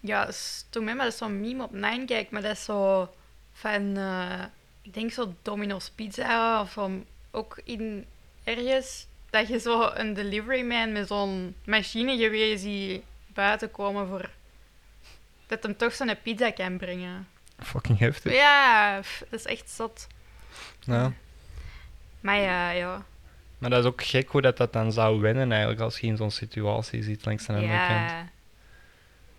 Speaker 3: Ja, s- toen mij maar dat is zo'n meme op Nine kijk, maar dat is zo van, eh, ik denk zo Domino's Pizza of van ook in ergens dat je zo een deliveryman met zo'n machinegeweer ziet buiten komen voor dat hem toch zo'n pizza kan brengen.
Speaker 2: Fucking heftig.
Speaker 3: Ja, pff, dat is echt zot.
Speaker 2: Ja.
Speaker 3: Maar ja, ja.
Speaker 2: Maar dat is ook gek hoe dat, dat dan zou winnen eigenlijk als je in zo'n situatie zit langs de andere kant.
Speaker 3: Ja,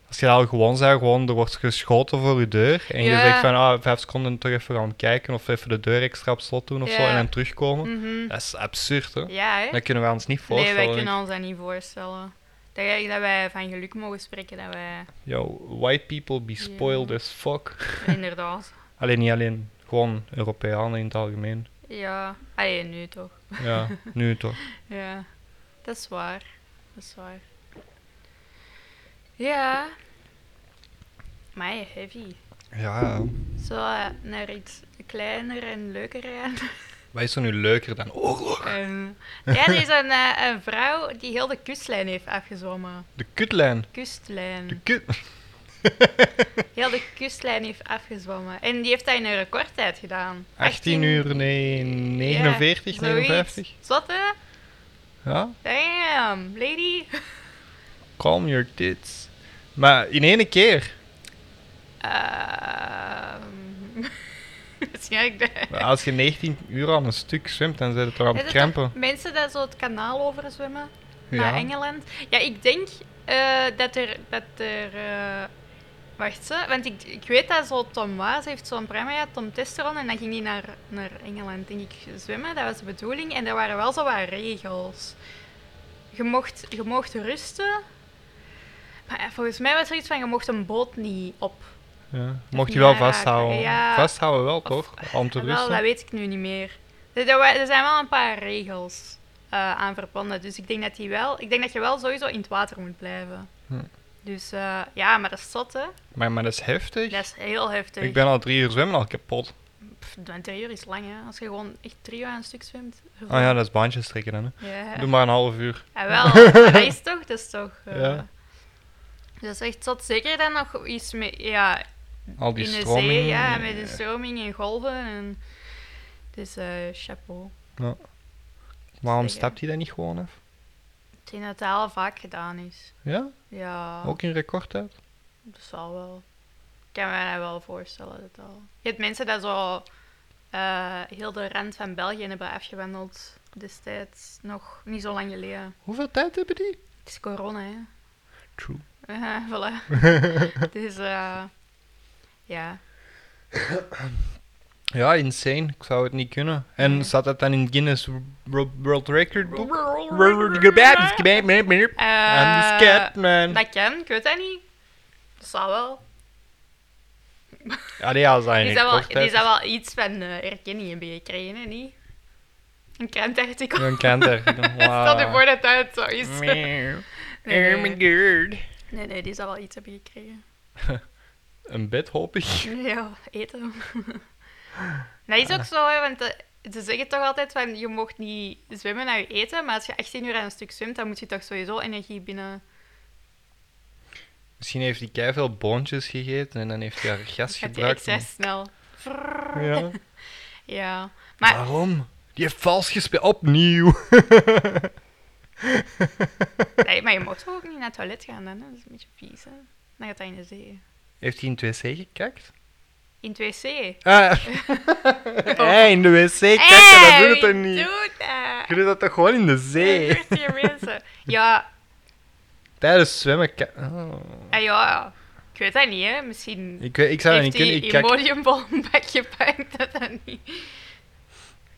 Speaker 2: Als je al gewoon zou, gewoon er wordt geschoten voor je deur en je
Speaker 3: Ja.
Speaker 2: zegt van ah, vijf seconden toch even gaan kijken of even de deur extra op slot doen of zo
Speaker 3: Ja.
Speaker 2: en dan terugkomen.
Speaker 3: Mhm.
Speaker 2: Dat is absurd hè.
Speaker 3: ja hè?
Speaker 2: Dat kunnen we ons niet
Speaker 3: Nee, wij
Speaker 2: voorstellen.
Speaker 3: kunnen ons dat niet voorstellen. Dat, jij- dat wij van geluk mogen spreken, dat wij
Speaker 2: Yo, white people be spoiled
Speaker 3: Ja.
Speaker 2: as fuck.
Speaker 3: inderdaad.
Speaker 2: Alleen niet alleen, gewoon Europeanen in het algemeen.
Speaker 3: Ja, allee, nu toch.
Speaker 2: Ja, nu toch.
Speaker 3: Ja, dat is waar. Dat is waar. Ja. Maar heavy.
Speaker 2: Ja.
Speaker 3: Zo eh, naar iets kleiner en leuker gaan.
Speaker 2: Wat is er nu leuker dan Oh, oorlog?
Speaker 3: En- ja, er is een, eh, een vrouw die heel de kustlijn heeft afgezwommen.
Speaker 2: De kutlijn. De
Speaker 3: Kustlijn.
Speaker 2: kut.
Speaker 3: Heel de kustlijn heeft afgezwommen. En die heeft dat in een recordtijd gedaan.
Speaker 2: 18 uur, nee, 49,
Speaker 3: Ja, zoiets.
Speaker 2: 59.
Speaker 3: Zot, hè?
Speaker 2: Ja,
Speaker 3: Damn, lady.
Speaker 2: calm your tits. Maar in één keer.
Speaker 3: Ehm, Waarschijnlijk de...
Speaker 2: Maar Als je 19 uur aan een stuk zwemt, dan zijn het toch aan
Speaker 3: Is
Speaker 2: het
Speaker 3: het
Speaker 2: krampen.
Speaker 3: toch mensen dat zo het kanaal overzwemmen naar
Speaker 2: Ja.
Speaker 3: Engeland. Ja, ik denk eh, dat er. Dat er eh, wacht ze, want ik, ik weet dat zo Tom Waas heeft zo'n programma gehad, Tom Testeron, en dan ging hij naar, naar Engeland, denk ik, zwemmen. Dat was de bedoeling. En er waren wel zo wat regels. Je mocht, je mocht rusten. Maar eh, volgens mij was er iets van, je mocht een boot niet op.
Speaker 2: Ja. Mocht je
Speaker 3: niet
Speaker 2: wel
Speaker 3: raken,
Speaker 2: vasthouden.
Speaker 3: ja.
Speaker 2: Vasthouden wel, toch? Om te
Speaker 3: Ah, Wel, dat
Speaker 2: rusten.
Speaker 3: weet ik nu niet meer. Er, er wa- er zijn wel een paar regels eh, aan verbonden. Dus ik denk, dat die wel, ik denk dat je wel sowieso in het water moet blijven.
Speaker 2: Hm.
Speaker 3: Dus eh, ja, maar dat is zot, hè?
Speaker 2: Maar, maar dat is heftig.
Speaker 3: Dat is heel heftig.
Speaker 2: Ik ben al drie uur zwemmen al kapot.
Speaker 3: Pff, de interieur is lang, hè? Als je gewoon echt drie uur aan een stuk zwemt.
Speaker 2: Ah ja, dat is baantjes trekken dan. Hè.
Speaker 3: Ja.
Speaker 2: Doe maar een half uur.
Speaker 3: Ah, wel, maar dat is toch, dat is toch... eh,
Speaker 2: Ja.
Speaker 3: Dat is echt zot. Zeker dan nog iets met... Ja,
Speaker 2: Al die
Speaker 3: in de
Speaker 2: stroming.
Speaker 3: zee, ja, met de
Speaker 2: eh,
Speaker 3: stroming en golven. En... Dus eh, chapeau.
Speaker 2: Waarom
Speaker 3: zeggen.
Speaker 2: stapt hij dat niet gewoon af?
Speaker 3: Ik denk dat dat al vaak gedaan is.
Speaker 2: Ja?
Speaker 3: Ja,
Speaker 2: Ook in recordtijd?
Speaker 3: dat zal wel. Ik kan me dat wel voorstellen. Dat al. Je hebt mensen dat zo eh, heel de rand van België hebben afgewandeld destijds. Nog niet zo lang geleden.
Speaker 2: Hoeveel tijd hebben die?
Speaker 3: Het is corona, hè.
Speaker 2: True.
Speaker 3: Eh, voilà. dus eh, ja.
Speaker 2: Ja, insane. Ik zou het niet kunnen. En
Speaker 3: Nee.
Speaker 2: staat dat dan in Guinness Wo- World Record boek? I'm the
Speaker 3: Eh,
Speaker 2: Scatman.
Speaker 3: dat kan, ik weet dat niet. Dat zal wel.
Speaker 2: Ja, die als dat
Speaker 3: Die
Speaker 2: in
Speaker 3: zou wel,
Speaker 2: recordtijd
Speaker 3: die
Speaker 2: is.
Speaker 3: zou wel iets van eh, erkenning hebben gekregen, hè, niet? Een krantartikel.
Speaker 2: Een kanter.
Speaker 3: Stel je voor dat dat zo is. Nee,
Speaker 2: Meow.
Speaker 3: nee.
Speaker 2: Oh my god.
Speaker 3: nee, nee, die zou wel iets hebben gekregen.
Speaker 2: Een bed, hoop ik.
Speaker 3: Ja, eten. dat is
Speaker 2: Ah.
Speaker 3: ook zo, hè, want eh, ze zeggen toch altijd van je mocht niet zwemmen naar je eten, maar als je 18 uur aan een stuk zwemt, dan moet je toch sowieso energie binnen.
Speaker 2: Misschien heeft hij keihard veel boontjes gegeten en dan heeft hij haar gas
Speaker 3: Dus Gaat je
Speaker 2: gebruikt.
Speaker 3: extra snel.
Speaker 2: om- Ja.
Speaker 3: Ja, maar
Speaker 2: Waarom? Die heeft vals gespeeld. Opnieuw. Ah.
Speaker 3: Nee, maar je mocht toch ook niet naar het toilet gaan dan, hè? dat is een beetje vies. Hè? Dan gaat hij in de zee.
Speaker 2: Heeft hij in 2C gekakt?
Speaker 3: In 2C.
Speaker 2: Ah. hey, in de wc kakken, dat doet het toch niet?
Speaker 3: Doe dat!
Speaker 2: Je doet dat toch gewoon in de zee?
Speaker 3: Dat doet je mensen. Ja,
Speaker 2: Tijdens zwemmen ka- oh.
Speaker 3: eh, ja, ik weet dat niet, hè? Misschien.
Speaker 2: ik, weet- ik zou dat niet
Speaker 3: heeft
Speaker 2: kunnen.
Speaker 3: die
Speaker 2: Ik kijk,
Speaker 3: Imodiumbol een bakje gepakt, dat dan niet.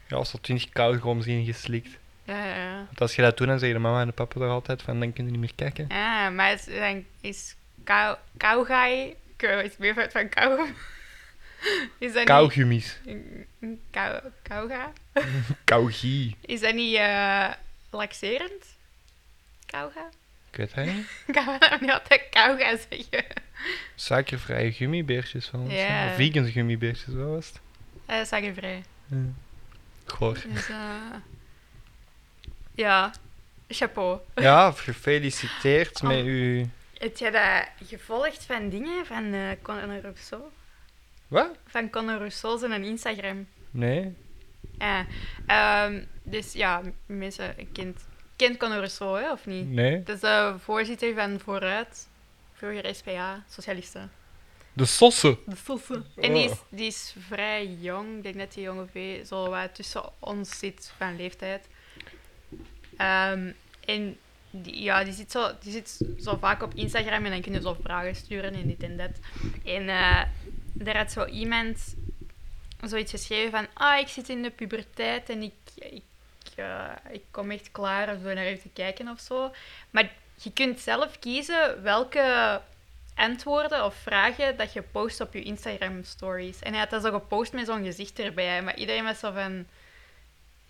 Speaker 2: ja, als er 20 kauwgoms in geslikt.
Speaker 3: Ja, ja, ja.
Speaker 2: Want als je dat doet, dan zeggen de mama en de papa toch altijd van, dan kun je niet meer kijken.
Speaker 3: Ja, maar is, dan is kou, kauwgaai... Ik weet het meer van- van kauwgom. Is dat
Speaker 2: Kauwgummies.
Speaker 3: niet... Kou, kauwga?
Speaker 2: Kauwgie.
Speaker 3: Is dat niet eh, laxerend? Kauwga?
Speaker 2: Ik weet het niet.
Speaker 3: Ik kan dat niet altijd kauwga zeggen.
Speaker 2: Suikervrije gummibeertjes van ons.
Speaker 3: Ja.
Speaker 2: hè. Vegan gummibeertjes, wat was het?
Speaker 3: Eh suikervrij.
Speaker 2: Goor.
Speaker 3: Dus, eh, ja, chapeau. Oh.
Speaker 2: Ja, gefeliciteerd met uw
Speaker 3: Heb jij dat gevolgd van dingen van eh, Conor Rousseau?
Speaker 2: Wat?
Speaker 3: Van Conor Rousseau zijn Instagram.
Speaker 2: Nee.
Speaker 3: Ja. ehm, dus ja, mensen kent, kent Conor Rousseau, hè, of niet?
Speaker 2: Nee.
Speaker 3: Dat is de voorzitter van Vooruit, vroeger SPA, Socialisten.
Speaker 2: De sossen.
Speaker 3: De Sossen. En die is,
Speaker 2: Oh.
Speaker 3: die is vrij jong, ik denk dat die ongeveer zo wat tussen ons zit van leeftijd. Ehm, en die, ja, die zit, zo, die zit zo vaak op Instagram en dan kun je zo vragen sturen en dit en dat. En eh, daar had zo iemand zoiets geschreven van, ah, ik zit in de puberteit en ik, ik, eh, ik kom echt klaar om zo naar even te kijken of zo. Maar je kunt zelf kiezen welke antwoorden of vragen dat je post op je Instagram stories. En hij had dat zo gepost met zo'n gezicht erbij, maar iedereen was zo van,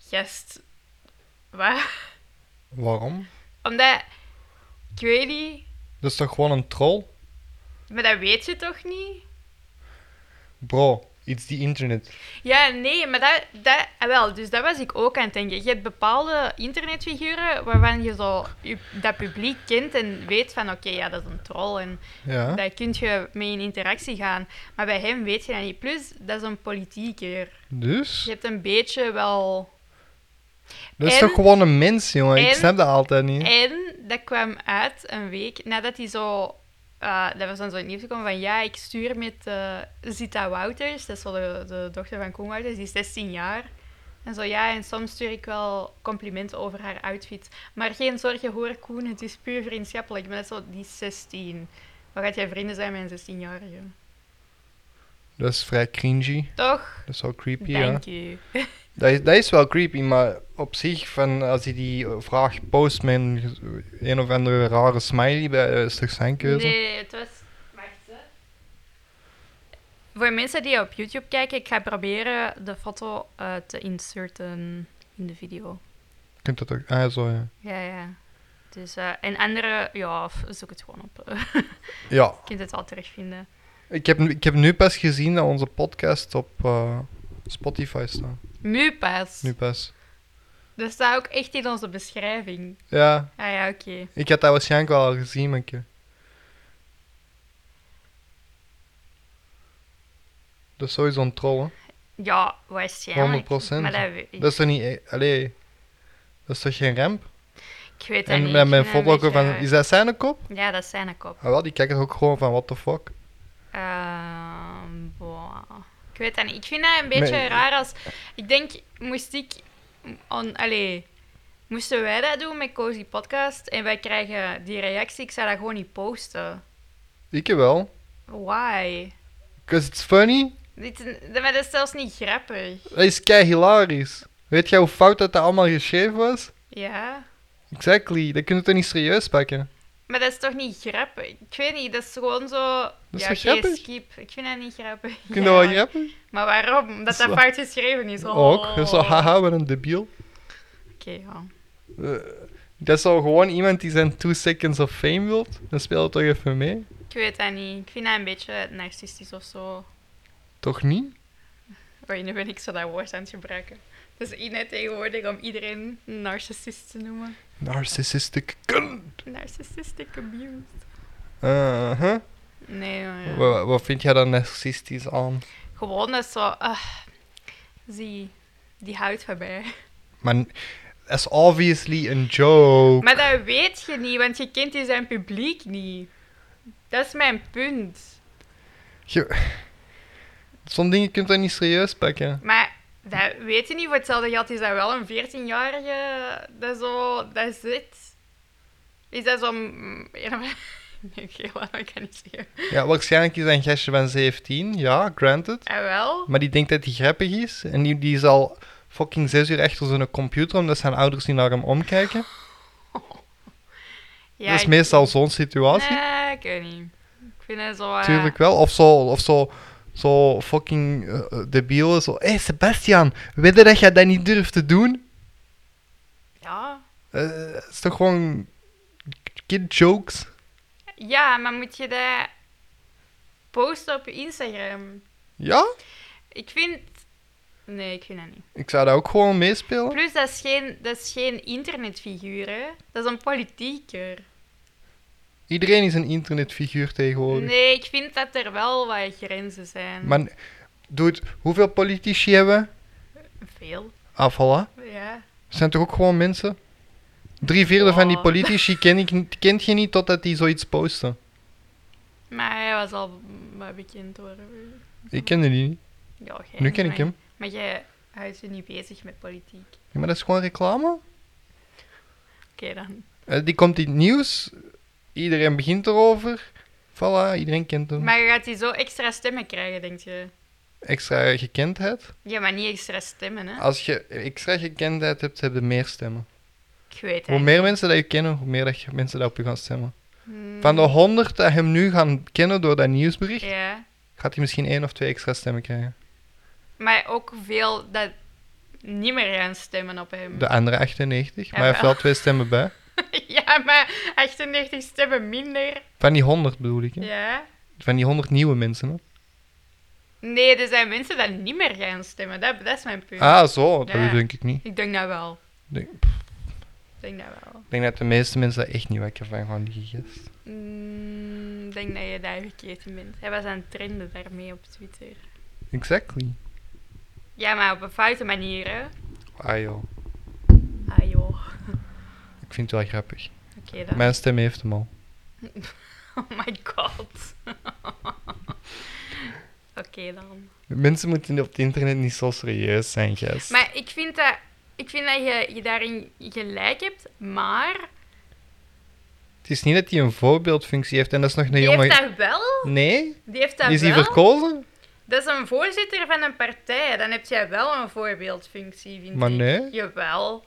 Speaker 3: gest, wat?
Speaker 2: Waarom?
Speaker 3: Omdat, ik weet niet,
Speaker 2: Dat is toch gewoon een troll?
Speaker 3: maar dat weet je toch niet?
Speaker 2: Bro, it's the internet.
Speaker 3: Ja, nee, maar dat, dat, ah, wel, dus dat was ik ook aan het denken. Je hebt bepaalde internetfiguren waarvan je zo je- dat publiek kent en weet van, oké, ja, dat is een troll en
Speaker 2: Ja.
Speaker 3: daar kun je mee in interactie gaan. Maar bij hem weet je dat niet. Plus, dat is een politieker.
Speaker 2: Dus?
Speaker 3: Je hebt een beetje wel...
Speaker 2: Dat is
Speaker 3: En-
Speaker 2: toch gewoon een mens, jongen? Ik
Speaker 3: en-
Speaker 2: snap dat altijd niet.
Speaker 3: En dat kwam uit een week nadat hij zo. eh, dat was dan zo in het nieuws gekomen van ja, ik stuur met eh, Zita Wouters, dat is zo de, de dochter van Koen Wouters, die is 16 jaar. En zo ja, en soms stuur ik wel complimenten over haar outfit. Maar geen zorgen hoor, Koen, het is puur vriendschappelijk. Maar dat is zo, die is 16. Wat gaat jij vrienden zijn met een 16-jarige?
Speaker 2: Dat is vrij cringy.
Speaker 3: Toch?
Speaker 2: Dat is wel creepy, ja.
Speaker 3: Dank u.
Speaker 2: Dat is, dat is wel creepy, maar op zich, van als je die eh, vraag post met een, ge- een of andere rare smiley bij, eh, is toch zijn keuze?
Speaker 3: Nee, het was. Wacht hè. Voor mensen die op YouTube kijken, ik ga proberen de foto eh, te inserten in de video.
Speaker 2: Je kunt dat ook. Ah, zo ja.
Speaker 3: Ja, ja. Dus, eh, en andere, ja, f- zoek het gewoon op. Je
Speaker 2: Ja,
Speaker 3: kunt het al terugvinden.
Speaker 2: ik heb, nu- ik heb nu pas gezien dat onze podcast op eh, Spotify staat.
Speaker 3: Nu pas.
Speaker 2: Nu pas.
Speaker 3: Dat staat ook echt in onze beschrijving.
Speaker 2: Ja,
Speaker 3: Ah ja, oké.
Speaker 2: ik had dat waarschijnlijk wel al gezien, maar ik- Dat is sowieso een troll, hè.
Speaker 3: Ja, waarschijnlijk.
Speaker 2: 100%.
Speaker 3: Maar dat, weet-
Speaker 2: Dat is toch niet... e- Allee, dat is toch geen ramp?
Speaker 3: ik weet dat
Speaker 2: En
Speaker 3: niet.
Speaker 2: met
Speaker 3: Ik
Speaker 2: mijn
Speaker 3: vind dat een
Speaker 2: foto ook
Speaker 3: beetje
Speaker 2: van...
Speaker 3: raar.
Speaker 2: Is dat zijn kop?
Speaker 3: Ja, dat is zijn kop.
Speaker 2: Ah, wel, die kijken ook gewoon van what the fuck.
Speaker 3: Ehm, boah. Ik weet dat niet. Ik vind dat een beetje
Speaker 2: Nee.
Speaker 3: raar als... Ik denk, moest ik... On, allee, moesten wij dat doen met Cozy Podcast en wij krijgen die reactie, ik zou dat gewoon niet posten.
Speaker 2: Ik wel.
Speaker 3: Why?
Speaker 2: Cause it's funny.
Speaker 3: Dit, is- maar dat is zelfs niet grappig.
Speaker 2: Dat is kei hilarisch. Weet jij hoe fout dat, dat allemaal geschreven was?
Speaker 3: Ja?
Speaker 2: Exactly. Dat kunnen we toch niet serieus pakken?
Speaker 3: Maar dat is toch niet grappig? Ik weet niet, dat is gewoon zo...
Speaker 2: is toch
Speaker 3: ja, oké,
Speaker 2: grappig?
Speaker 3: skip. Ik vind dat niet grappig.
Speaker 2: Kun je
Speaker 3: Ja,
Speaker 2: dat wel
Speaker 3: maar-
Speaker 2: grappen?
Speaker 3: Maar waarom? Omdat
Speaker 2: Dat
Speaker 3: dat
Speaker 2: is
Speaker 3: fout geschreven is. Oh.
Speaker 2: Ook. Dat is zo, haha, wat een debiel.
Speaker 3: Oké, ja.
Speaker 2: Eh, dat is al gewoon iemand die zijn 2 seconds of fame wilt. Dan speel het toch even mee?
Speaker 3: Ik weet dat niet. Ik vind dat een beetje narcistisch of zo.
Speaker 2: Toch niet?
Speaker 3: Oei, nu ben ik zo dat woord aan het gebruiken. Het is in tegenwoordig om iedereen narcissist te noemen.
Speaker 2: Narcissistic cunt.
Speaker 3: Narcissistic abuse.
Speaker 2: Uh -huh.
Speaker 3: Nee, maar ja.
Speaker 2: Wa- Wat vind jij dan narcistisch aan?
Speaker 3: Gewoon dat zo... ah, zie, die houdt van mij.
Speaker 2: Maar n- dat is obviously een joke.
Speaker 3: Maar dat weet je niet, want je kent die zijn publiek niet. Dat is mijn punt.
Speaker 2: Je- Zo'n dingen kun je toch niet serieus pakken?
Speaker 3: Maar dat weet je niet. Voor hetzelfde geld is dat wel een 14-jarige dat zo... Dat zit. Is dat zo... mm, een of- Nee, oké, laat ik kan niet zeggen.
Speaker 2: Ja, waarschijnlijk is dat een gastje van 17, ja, granted.
Speaker 3: En Ah, wel...
Speaker 2: Maar die denkt dat hij grappig is. En die, die is al fucking 6 uur achter zijn computer omdat zijn ouders niet naar hem omkijken.
Speaker 3: Ja,
Speaker 2: dat is
Speaker 3: ik-
Speaker 2: meestal zo'n situatie.
Speaker 3: Nee, ik weet niet. Ik vind het zo... eh,
Speaker 2: Tuurlijk wel. Of zo, of zo, zo fucking eh, eh, debiel. Zo, hé hey, Sebastian, weet je dat jij dat niet durft te doen?
Speaker 3: Ja.
Speaker 2: Eh, Het is toch gewoon kid jokes?
Speaker 3: ja, maar moet je dat posten op je Instagram?
Speaker 2: Ja?
Speaker 3: Ik vind... Nee, ik vind dat niet.
Speaker 2: Ik zou dat ook gewoon meespelen.
Speaker 3: Plus, dat is geen, dat is geen internetfiguur, hè. Dat is een politieker.
Speaker 2: Iedereen is een internetfiguur tegenwoordig.
Speaker 3: Nee, ik vind dat er wel wat grenzen zijn.
Speaker 2: Maar doet, hoeveel politici hebben we?
Speaker 3: Veel,
Speaker 2: Ah, voilà.
Speaker 3: ja.
Speaker 2: Het zijn toch ook gewoon mensen? Drie vierde van die
Speaker 3: Oh.
Speaker 2: politici ken ik, niet- kent je niet totdat die zoiets posten.
Speaker 3: Maar hij was al wat bekend hoor.
Speaker 2: Ik kende die niet.
Speaker 3: Ja, jij
Speaker 2: Nu
Speaker 3: niet,
Speaker 2: ken ik
Speaker 3: maar-
Speaker 2: hem.
Speaker 3: Maar jij houdt je niet bezig met politiek.
Speaker 2: Ja, maar dat is gewoon reclame.
Speaker 3: Oké dan.
Speaker 2: Eh, Die komt in het nieuws. Iedereen begint erover. Voilà, iedereen kent hem.
Speaker 3: Maar je gaat die zo extra stemmen krijgen, denk je?
Speaker 2: Extra gekendheid.
Speaker 3: Ja, maar niet extra stemmen, hè?
Speaker 2: Als je extra gekendheid hebt, heb je meer stemmen.
Speaker 3: Ik weet
Speaker 2: Hoe
Speaker 3: het.
Speaker 2: meer mensen dat je kennen, hoe meer dat je mensen dat op je gaan stemmen.
Speaker 3: Hmm,
Speaker 2: Van de 100 dat hem nu gaan kennen door dat nieuwsbericht,
Speaker 3: Ja.
Speaker 2: gaat hij misschien één of twee extra stemmen krijgen.
Speaker 3: Maar ook veel dat niet meer gaan stemmen op hem.
Speaker 2: De andere 98, maar hij heeft
Speaker 3: Jawel.
Speaker 2: wel twee stemmen bij.
Speaker 3: ja, maar 98 stemmen minder.
Speaker 2: Van die 100 bedoel ik. hè.
Speaker 3: Ja.
Speaker 2: Van die 100 nieuwe mensen. Hè?
Speaker 3: Nee, er zijn mensen die niet meer gaan stemmen. Dat, dat is mijn punt.
Speaker 2: Ah, zo.
Speaker 3: Ja.
Speaker 2: Dat denk ik niet.
Speaker 3: Ik denk dat wel.
Speaker 2: Denk-
Speaker 3: Ik denk dat wel.
Speaker 2: Ik denk dat de meeste mensen daar echt niet wakker van gaan liggen.
Speaker 3: Mm, Ik denk dat je daar verkeerd in bent. Hij was aan het trenden daarmee op Twitter.
Speaker 2: Exactly.
Speaker 3: Ja, maar op een foute manier, hè?
Speaker 2: Ah joh,
Speaker 3: Ah joh. Oké
Speaker 2: ik vind het wel grappig.
Speaker 3: dan.
Speaker 2: Mijn stem heeft hem al.
Speaker 3: Oh my god. Oké dan.
Speaker 2: Mensen moeten op het internet niet zo serieus zijn, gast.
Speaker 3: Maar ik vind dat, ik vind dat je, je daarin gelijk hebt, maar
Speaker 2: Het is niet dat hij een voorbeeldfunctie heeft en dat is nog een
Speaker 3: die
Speaker 2: jonge...
Speaker 3: heeft dat wel.
Speaker 2: Nee?
Speaker 3: Die heeft dat
Speaker 2: Is hij
Speaker 3: wel.
Speaker 2: verkozen?
Speaker 3: dat is een voorzitter van een partij. Dan heb jij wel een voorbeeldfunctie, vind
Speaker 2: Maar
Speaker 3: ik.
Speaker 2: nee.
Speaker 3: Jawel.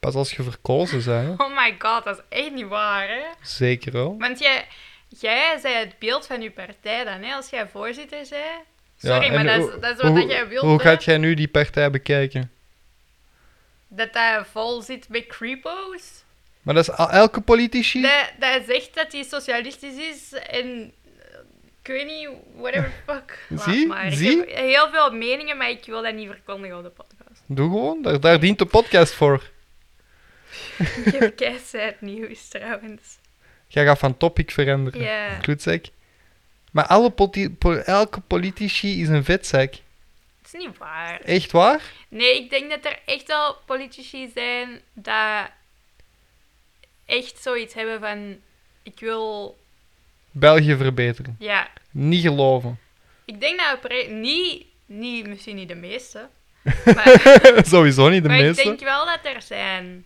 Speaker 2: Pas als je verkozen bent. hè.
Speaker 3: Oh my god, dat is echt niet waar, hè?
Speaker 2: Zeker wel.
Speaker 3: Want jij, jij zei het beeld van je partij dan, hè? Als jij voorzitter zei.
Speaker 2: Ja,
Speaker 3: Sorry, maar
Speaker 2: en
Speaker 3: dat
Speaker 2: hoe-
Speaker 3: is, dat is wat
Speaker 2: hoe,
Speaker 3: dat jij wilt,
Speaker 2: Hoe
Speaker 3: hè?
Speaker 2: gaat jij nu die partij bekijken?
Speaker 3: Dat dat vol zit met creepo's.
Speaker 2: Maar dat is al- elke politici?
Speaker 3: Dat, dat zegt dat hij socialistisch is en eh, ik weet niet, whatever the fuck. Laat
Speaker 2: Zie?
Speaker 3: maar.
Speaker 2: Zie?
Speaker 3: Ik heb heel veel meningen, maar ik wil dat niet verkondigen op de podcast.
Speaker 2: Doe gewoon, daar, daar dient de podcast voor.
Speaker 3: Ik heb keizerd nieuws trouwens.
Speaker 2: Jij gaat van topic veranderen.
Speaker 3: Ja.
Speaker 2: Kloetzak. Maar alle poti- po- elke politici is een vetzak.
Speaker 3: Het is niet waar.
Speaker 2: Echt waar?
Speaker 3: Nee, ik denk dat er echt wel politici zijn dat echt zoiets hebben van ik wil,
Speaker 2: België verbeteren.
Speaker 3: ja,
Speaker 2: Niet geloven.
Speaker 3: ik denk dat opre- niet, niet, misschien niet de meeste, maar,
Speaker 2: Sowieso niet de
Speaker 3: maar ik
Speaker 2: meeste.
Speaker 3: denk wel dat er zijn.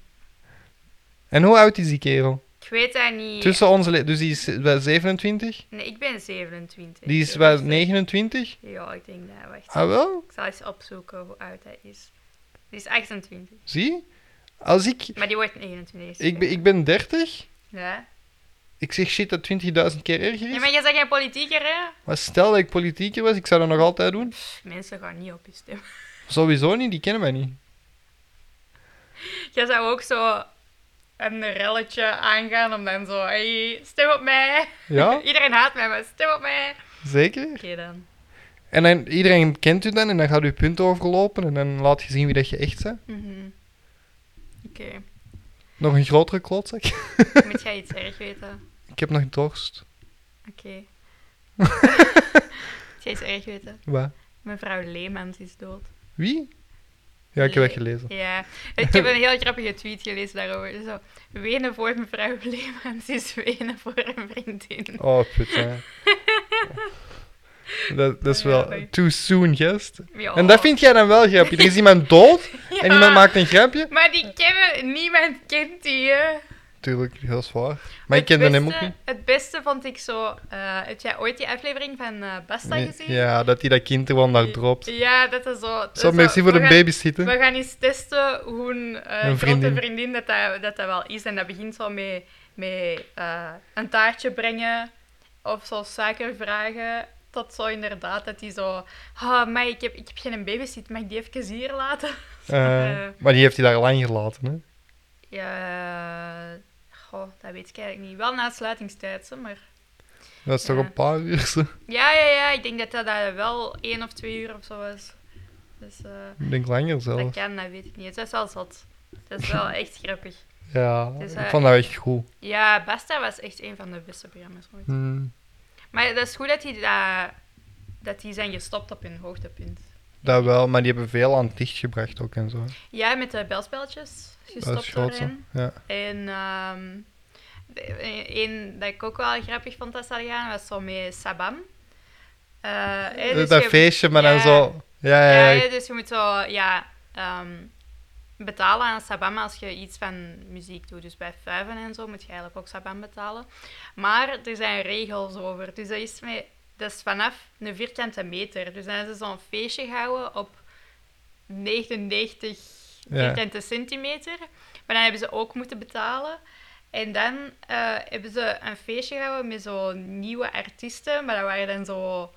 Speaker 2: En hoe oud is die kerel?
Speaker 3: Ik weet dat niet.
Speaker 2: Tussen onze... le- Dus die is eh, wel 27?
Speaker 3: Nee, ik ben 27.
Speaker 2: Die is
Speaker 3: dus
Speaker 2: wel
Speaker 3: dat-
Speaker 2: 29?
Speaker 3: Ja, ik denk dat. Wacht.
Speaker 2: Ah wel,
Speaker 3: Ik zal eens opzoeken hoe oud hij is. Die is 28.
Speaker 2: zie? Als ik...
Speaker 3: Maar die wordt 29.
Speaker 2: Ik ben, ik ben 30.
Speaker 3: Ja.
Speaker 2: Ik zeg shit dat 20.000 keer erger
Speaker 3: ja,
Speaker 2: is.
Speaker 3: maar jij bent geen politieker, hè?
Speaker 2: Maar stel dat ik politieker was, ik zou dat nog altijd doen.
Speaker 3: Pff, Mensen gaan niet op je stemmen.
Speaker 2: Sowieso niet, die kennen mij niet.
Speaker 3: Jij zou ook zo een relletje aangaan om dan zo... Hey, stem op mij.
Speaker 2: Ja,
Speaker 3: Iedereen haat mij, maar stem op mij. Oké
Speaker 2: zeker.
Speaker 3: dan.
Speaker 2: En dan, iedereen kent u dan en dan gaat u punt overlopen en dan laat je zien wie dat je echt bent.
Speaker 3: Mhm. Oké.
Speaker 2: Nog een grotere klootzak.
Speaker 3: Moet jij iets erg weten?
Speaker 2: ik heb nog dorst.
Speaker 3: Oké. Moet jij iets erg weten?
Speaker 2: Wat?
Speaker 3: Mevrouw Leemans is dood.
Speaker 2: Wie? Ja, ik heb dat
Speaker 3: Le-
Speaker 2: gelezen.
Speaker 3: Ja, ik heb een heel grappige tweet gelezen daarover. Zo, wenen voor mevrouw Leemans is wenen voor een vriendin.
Speaker 2: Oh, put, hè. dat, dat is
Speaker 3: Ja,
Speaker 2: wel
Speaker 3: nee.
Speaker 2: too soon, gast.
Speaker 3: Ja.
Speaker 2: En dat vind jij dan wel grappig. Er is iemand dood
Speaker 3: Ja,
Speaker 2: en iemand maakt een grapje.
Speaker 3: Maar die kennen, niemand kent die, hè.
Speaker 2: Tuurlijk, dat is waar. Maar ik
Speaker 3: Het
Speaker 2: kende hem ook
Speaker 3: beste-
Speaker 2: niet.
Speaker 3: Het beste vond ik zo... eh heb jij ooit die aflevering van eh Basta
Speaker 2: Nee,
Speaker 3: gezien?
Speaker 2: Ja, dat hij dat kind er gewoon daar dropt.
Speaker 3: Ja, dat is zo... dat
Speaker 2: Zo,
Speaker 3: is
Speaker 2: merci voor
Speaker 3: we
Speaker 2: de
Speaker 3: gaan-
Speaker 2: babysitten.
Speaker 3: We gaan eens testen hoe een eh,
Speaker 2: Een
Speaker 3: grote
Speaker 2: vriendin.
Speaker 3: vriendin dat dat, dat dat wel is. En dat begint zo met, met eh, een taartje brengen of zo suiker vragen. Tot zo inderdaad dat die zo... Oh, maar ik heb, ik heb geen babysit, mag ik die even hier laten?
Speaker 2: Eh, maar die heeft hij daar lang gelaten, hè.
Speaker 3: Ja, eh, goh, dat weet ik eigenlijk niet. Wel na sluitingstijd, hè, maar...
Speaker 2: Dat is toch
Speaker 3: Ja.
Speaker 2: een paar uur, zo.
Speaker 3: Ja, ja, ja, ik denk dat dat eh, wel één of twee uur of zo was. Dus eh,
Speaker 2: Ik denk langer
Speaker 3: dat
Speaker 2: zelf.
Speaker 3: kan, dat weet ik niet. Het is wel zot. Het is wel echt grappig.
Speaker 2: Ja,
Speaker 3: Dus,
Speaker 2: ik
Speaker 3: eh,
Speaker 2: vond dat echt goed.
Speaker 3: Ja, Basta was echt een van de beste programma's ooit.
Speaker 2: Hmm,
Speaker 3: Maar dat is goed dat die, dat, dat die zijn gestopt op hun hoogtepunt.
Speaker 2: dat wel, maar die hebben veel aan het licht gebracht ook en zo.
Speaker 3: Ja, met de belspeltjes
Speaker 2: Dat is
Speaker 3: gestopt
Speaker 2: groot, hè.
Speaker 3: daarin.
Speaker 2: Ja.
Speaker 3: En ehm eh, een dat ik ook wel grappig vond dat ze hadden gedaan, was zo met Sabam. Eh, hè, dus
Speaker 2: dat
Speaker 3: je-
Speaker 2: feestje, maar
Speaker 3: ja.
Speaker 2: dan zo... Ja,
Speaker 3: Ja,
Speaker 2: ja, ja.
Speaker 3: hè, dus je moet zo ja, ehm, betalen aan Sabam als je iets van muziek doet. Dus bij vuiven en zo moet je eigenlijk ook Sabam betalen. Maar er zijn regels over. Dus dat is, met, dat is vanaf een vierkante meter. Dus dan hebben ze zo'n feestje gehouden op 99
Speaker 2: Ja.
Speaker 3: vierkante centimeter. Maar dan hebben ze ook moeten betalen. En dan eh, hebben ze een feestje gehouden met zo'n nieuwe artiesten. Maar dat waren dan zo...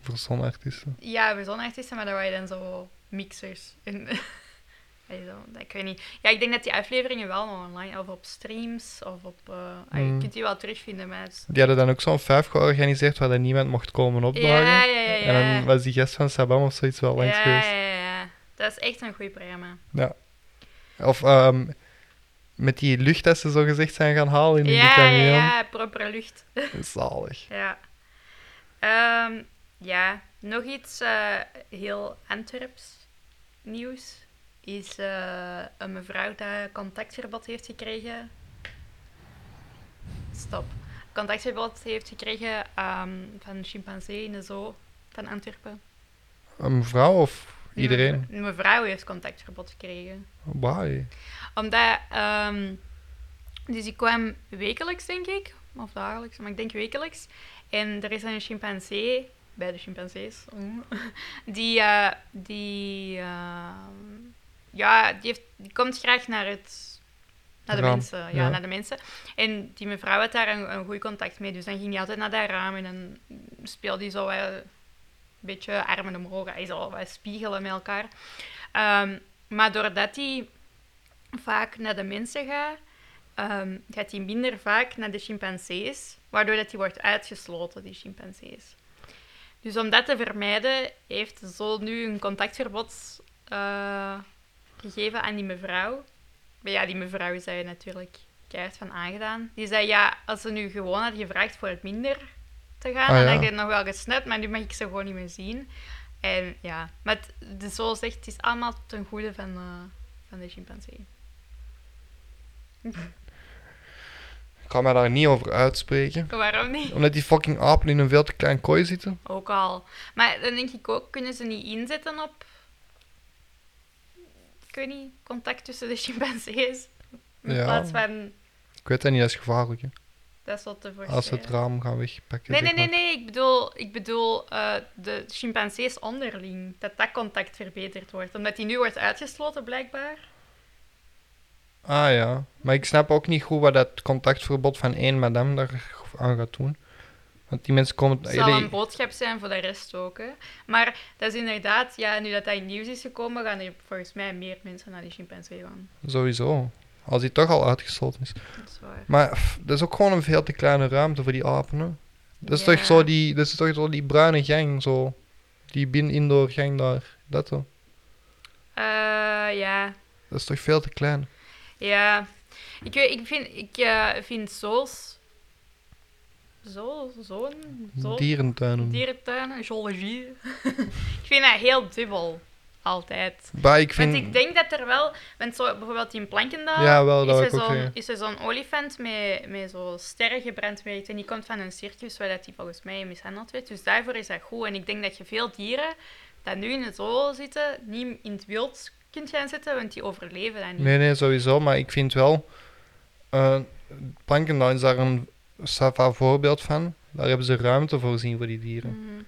Speaker 2: Voor zo'n artiesten.
Speaker 3: Ja, we zo'n artiesten, maar daar waren dan zo mixers. En, Allee, zo, dat- ik weet niet. Ja, ik denk dat die afleveringen wel nog online, of op streams, of op... eh, ah, Je
Speaker 2: Mm.
Speaker 3: kunt die wel terugvinden, maar... het is-
Speaker 2: Die hadden dan ook zo'n vijf georganiseerd waar dan niemand mocht komen opdagen.
Speaker 3: Ja, ja, ja, ja.
Speaker 2: En dan was die gast van Sabam of zoiets wel langs
Speaker 3: ja,
Speaker 2: geweest.
Speaker 3: ja, ja, ja. Dat is echt een goed programma.
Speaker 2: Of ehm, met die lucht dat ze zo gezegd zijn gaan halen in die
Speaker 3: Ja, ja,
Speaker 2: camion.
Speaker 3: ja, proper lucht.
Speaker 2: Zalig.
Speaker 3: Ja. Ehm, ja, nog iets eh, heel Antwerps nieuws is eh, een mevrouw die contactverbod heeft gekregen. Stop. Contactverbod heeft gekregen ehm, van een chimpansee in de zoo van Antwerpen.
Speaker 2: Een mevrouw of iedereen?
Speaker 3: Een mevrouw heeft contactverbod gekregen.
Speaker 2: Why?
Speaker 3: Omdat, ehm, dus ik kwam wekelijks, denk ik, of dagelijks, maar ik denk wekelijks. En er is een chimpansee, bij de chimpansees, mm, die, eh, die, ehm, ja, die, heeft, die komt graag naar het. Naar de
Speaker 2: Raam,
Speaker 3: mensen, ja,
Speaker 2: ja.
Speaker 3: naar de mensen. En die mevrouw had daar een, een goed contact mee, dus dan ging hij altijd naar dat raam en dan speelde hij zo wel een beetje armen omhoog, hij zo wat spiegelen met elkaar. Ehm, maar doordat hij vaak naar de mensen gaat, ehm, gaat hij minder vaak naar de chimpansees, waardoor dat hij wordt uitgesloten, die chimpansees. Dus om dat te vermijden, heeft zo nu een contactverbod eh, gegeven aan die mevrouw. Maar ja, die mevrouw is daar natuurlijk keihard van aangedaan. Die zei, ja, als ze nu gewoon had gevraagd voor het minder te gaan,
Speaker 2: Ah,
Speaker 3: dan
Speaker 2: ja.
Speaker 3: had ik het nog wel gesnapt, maar nu mag ik ze gewoon niet meer zien. En ja, maar het, dus zoals zegt, het is allemaal ten goede van, eh, van de chimpansee.
Speaker 2: Ik ga mij daar niet over uitspreken.
Speaker 3: Waarom niet?
Speaker 2: Omdat die fucking apen in een veel te klein kooi zitten.
Speaker 3: Ook al. Maar dan denk ik ook, kunnen ze niet inzetten op... Ik weet niet, contact tussen de chimpansees? In
Speaker 2: Ja.
Speaker 3: plaats van...
Speaker 2: Ik weet dat niet, dat is gevaarlijk. Hè.
Speaker 3: Dat soort te forceren.
Speaker 2: Als ze het raam gaan wegpakken.
Speaker 3: Oh, Nee,
Speaker 2: zeg
Speaker 3: nee, nee,
Speaker 2: maar.
Speaker 3: nee. Ik bedoel, ik bedoel eh, de chimpansees onderling. Dat dat contact verbeterd wordt. Omdat die nu wordt uitgesloten, blijkbaar.
Speaker 2: Ah ja. Maar ik snap ook niet goed wat dat contactverbod van één madame daar aan gaat doen. Want die mensen komen.
Speaker 3: Het zal
Speaker 2: Allee,
Speaker 3: een boodschap zijn voor de rest ook. Hè. Maar dat is inderdaad, ja, nu dat dat in het nieuws is gekomen, gaan er volgens mij meer mensen naar die chimpansee gaan.
Speaker 2: Sowieso. Als die toch al uitgesloten is.
Speaker 3: Dat is waar.
Speaker 2: Maar pff, dat is ook gewoon een veel te kleine ruimte voor die apen. Hè? Dat is
Speaker 3: Ja.
Speaker 2: toch zo die, dat is toch zo die bruine gang, zo. Die bin-indoor gang daar. Dat toch?
Speaker 3: Eh, ja,
Speaker 2: Dat is toch veel te klein.
Speaker 3: ja. Ik, weet, ik vind, ik, eh, vind zoals. Zo, zo'n. Zo,
Speaker 2: Dierentuinen.
Speaker 3: dierentuinen, zoologie. ik vind dat heel dubbel, altijd.
Speaker 2: Maar ik vind...
Speaker 3: Want ik denk dat er wel, want zo, bijvoorbeeld in Plankendaal
Speaker 2: Ja, wel, dat wou
Speaker 3: is, er
Speaker 2: ik ook
Speaker 3: zo'n,
Speaker 2: zeggen.
Speaker 3: is er zo'n olifant met, met zo'n sterren gebrandmerkt en die komt van een circus waar dat die volgens mij mishandeld werd. Dus daarvoor is dat goed. En ik denk dat je veel dieren dat nu in de zoo zitten, niet in het wild kunt gaan zetten, want die overleven dat niet.
Speaker 2: Nee, nee, sowieso. Maar ik vind wel... eh Plankendaal is daar een sava voorbeeld van. Daar hebben ze ruimte voorzien voor die dieren.
Speaker 3: Mhm.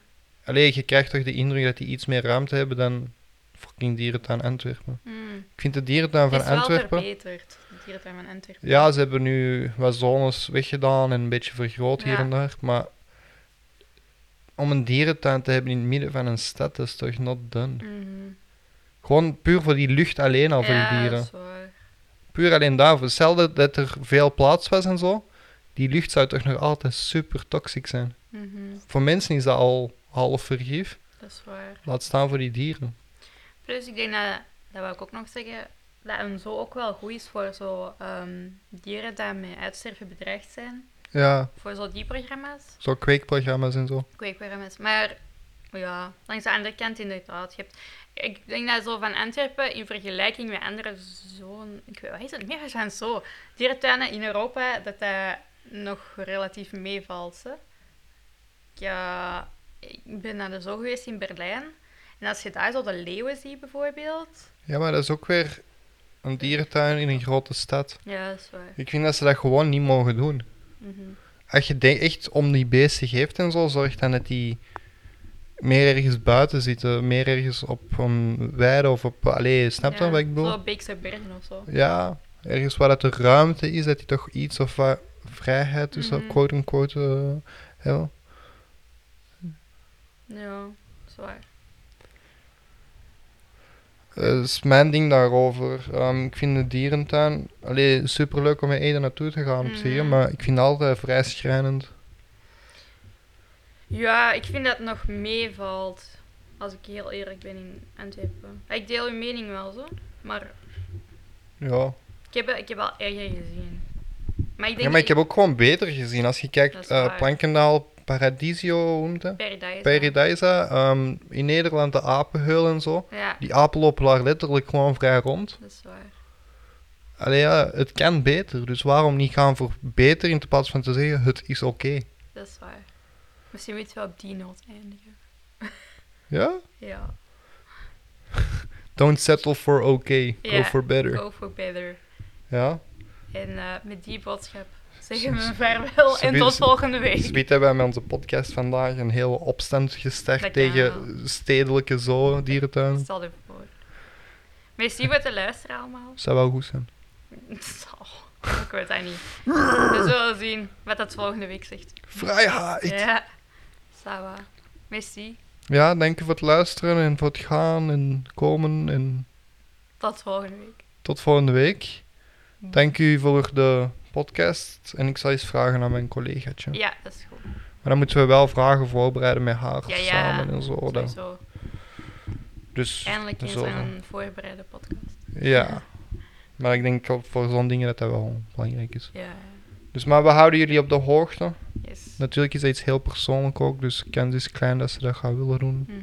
Speaker 2: Alleen je krijgt toch de indruk dat die iets meer ruimte hebben dan fucking dierentuin Antwerpen.
Speaker 3: Mm.
Speaker 2: Ik vind de dierentuin van
Speaker 3: het is wel
Speaker 2: Antwerpen...
Speaker 3: verbeterd, de dierentuin van Antwerpen.
Speaker 2: Ja, ze hebben nu wat zones weggedaan en een beetje vergroot hier
Speaker 3: Ja.
Speaker 2: en daar. Maar om een dierentuin te hebben in het midden van een stad, dat is toch not done.
Speaker 3: Mhm.
Speaker 2: Gewoon puur voor die lucht alleen al Nou, voor
Speaker 3: ja,
Speaker 2: die dieren.
Speaker 3: dat is waar.
Speaker 2: Puur alleen daarvoor. Hetzelfde dat er veel plaats was en zo. Die lucht zou toch nog altijd super toxic zijn.
Speaker 3: Mhm,
Speaker 2: Voor mensen is dat al half vergif.
Speaker 3: Dat is waar.
Speaker 2: Laat staan voor die dieren.
Speaker 3: Plus, ik denk dat, dat wil ik ook nog zeggen, dat hem zo ook wel goed is voor zo ehm, dieren die met uitsterven bedreigd zijn.
Speaker 2: Ja,
Speaker 3: Voor zo die programma's.
Speaker 2: zo kweekprogramma's en zo.
Speaker 3: Kweekprogramma's. Maar ja, langs de andere kant inderdaad. Je hebt, ik denk dat zo van Antwerpen in vergelijking met andere zo'n... Ik weet wat is het meer zijn zo. Dierentuinen in Europa, dat dat nog relatief meevalt. hè. Ik, ja, ik ben naar de zoo geweest in Berlijn. En als je daar zo de leeuwen ziet bijvoorbeeld...
Speaker 2: Ja, maar dat is ook weer een dierentuin in een grote stad.
Speaker 3: Ja, dat is waar.
Speaker 2: Ik vind dat ze dat gewoon niet mogen doen.
Speaker 3: Mhm.
Speaker 2: Als je de- echt om die beesten geeft en zo, zorg dan dat die meer ergens buiten zitten. Meer ergens op een weide of op... Allee, snap je
Speaker 3: Ja,
Speaker 2: wat ik bedoel?
Speaker 3: Zo Beekse Bergen of zo.
Speaker 2: Ja, ergens waar dat er ruimte is, dat die toch iets of wat vrijheid, dus
Speaker 3: Mhm.
Speaker 2: quote-unquote, eh hebben.
Speaker 3: Ja, zwaar.
Speaker 2: Eh, Dat is mijn ding daarover. Ehm, ik vind de dierentuin allee, superleuk om met Ede naartoe te gaan op zich,
Speaker 3: Mhm.
Speaker 2: maar ik vind het altijd vrij schrijnend.
Speaker 3: Ja, ik vind dat het nog meevalt. Als ik heel eerlijk ben in Antwerpen. Ik deel uw mening wel zo. Maar
Speaker 2: Ja.
Speaker 3: ik heb, ik heb al erger gezien. Maar ik denk
Speaker 2: ja, maar ik heb ook gewoon beter gezien. Als je
Speaker 3: Dat is
Speaker 2: kijkt, eh,
Speaker 3: waar.
Speaker 2: Plankendaal, Paradiso, hoe noemt dat?
Speaker 3: Paradise.
Speaker 2: Paradisa, ehm, in Nederland de apenheul en zo.
Speaker 3: Ja,
Speaker 2: Die apen lopen daar letterlijk gewoon vrij rond.
Speaker 3: dat is waar.
Speaker 2: Allee, ja, het kan beter. Dus waarom niet gaan voor beter in plaats van te zeggen, het is oké.
Speaker 3: Dat is waar. Misschien moet je wel op die noot eindigen.
Speaker 2: Ja?
Speaker 3: Ja.
Speaker 2: Don't settle for oké, go
Speaker 3: Ja.
Speaker 2: for better.
Speaker 3: Go for better.
Speaker 2: Ja?
Speaker 3: En eh, met die boodschap
Speaker 2: Ze-
Speaker 3: zeggen we
Speaker 2: ze-
Speaker 3: vaarwel
Speaker 2: ze
Speaker 3: en
Speaker 2: bieden-
Speaker 3: tot
Speaker 2: ze-
Speaker 3: volgende week.
Speaker 2: Sweet hebben Dus we met onze podcast vandaag een hele opstand gestart
Speaker 3: Dat kan
Speaker 2: tegen stedelijke zoo, dierentuin.
Speaker 3: Stel ervoor. Merci voor het luisteren allemaal.
Speaker 2: Zou wel goed zijn.
Speaker 3: Zo, ik weet dat niet. We zullen zien wat dat volgende week zegt.
Speaker 2: Vrijheid! Ja.
Speaker 3: Ja. Sawa. Merci.
Speaker 2: dank u voor het luisteren en voor het gaan en komen en
Speaker 3: Tot volgende week.
Speaker 2: tot volgende week. Dank u voor de podcast en ik zal eens vragen aan mijn collegaatje.
Speaker 3: Ja, dat is goed.
Speaker 2: Maar dan moeten we wel vragen voorbereiden met haar
Speaker 3: Ja, ja.
Speaker 2: samen en zo. Oh, dan.
Speaker 3: Sowieso.
Speaker 2: Dus,
Speaker 3: Eindelijk eens
Speaker 2: zo.
Speaker 3: een voorbereide podcast.
Speaker 2: Ja. Maar ik denk ook voor zo'n dingen dat dat wel belangrijk is.
Speaker 3: Ja.
Speaker 2: Dus, maar we houden jullie op de hoogte.
Speaker 3: Yes.
Speaker 2: Natuurlijk is dat iets heel persoonlijk ook, dus kans is klein dat ze dat gaan willen doen.
Speaker 3: Mhm.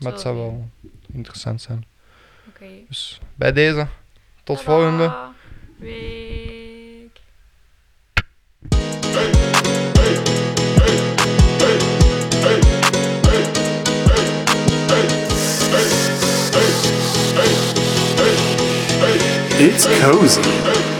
Speaker 2: Maar het zou wel interessant zijn.
Speaker 3: Oké.
Speaker 2: Dus bij deze, tot
Speaker 3: Tada.
Speaker 2: volgende.
Speaker 3: Week.
Speaker 1: It's cozy.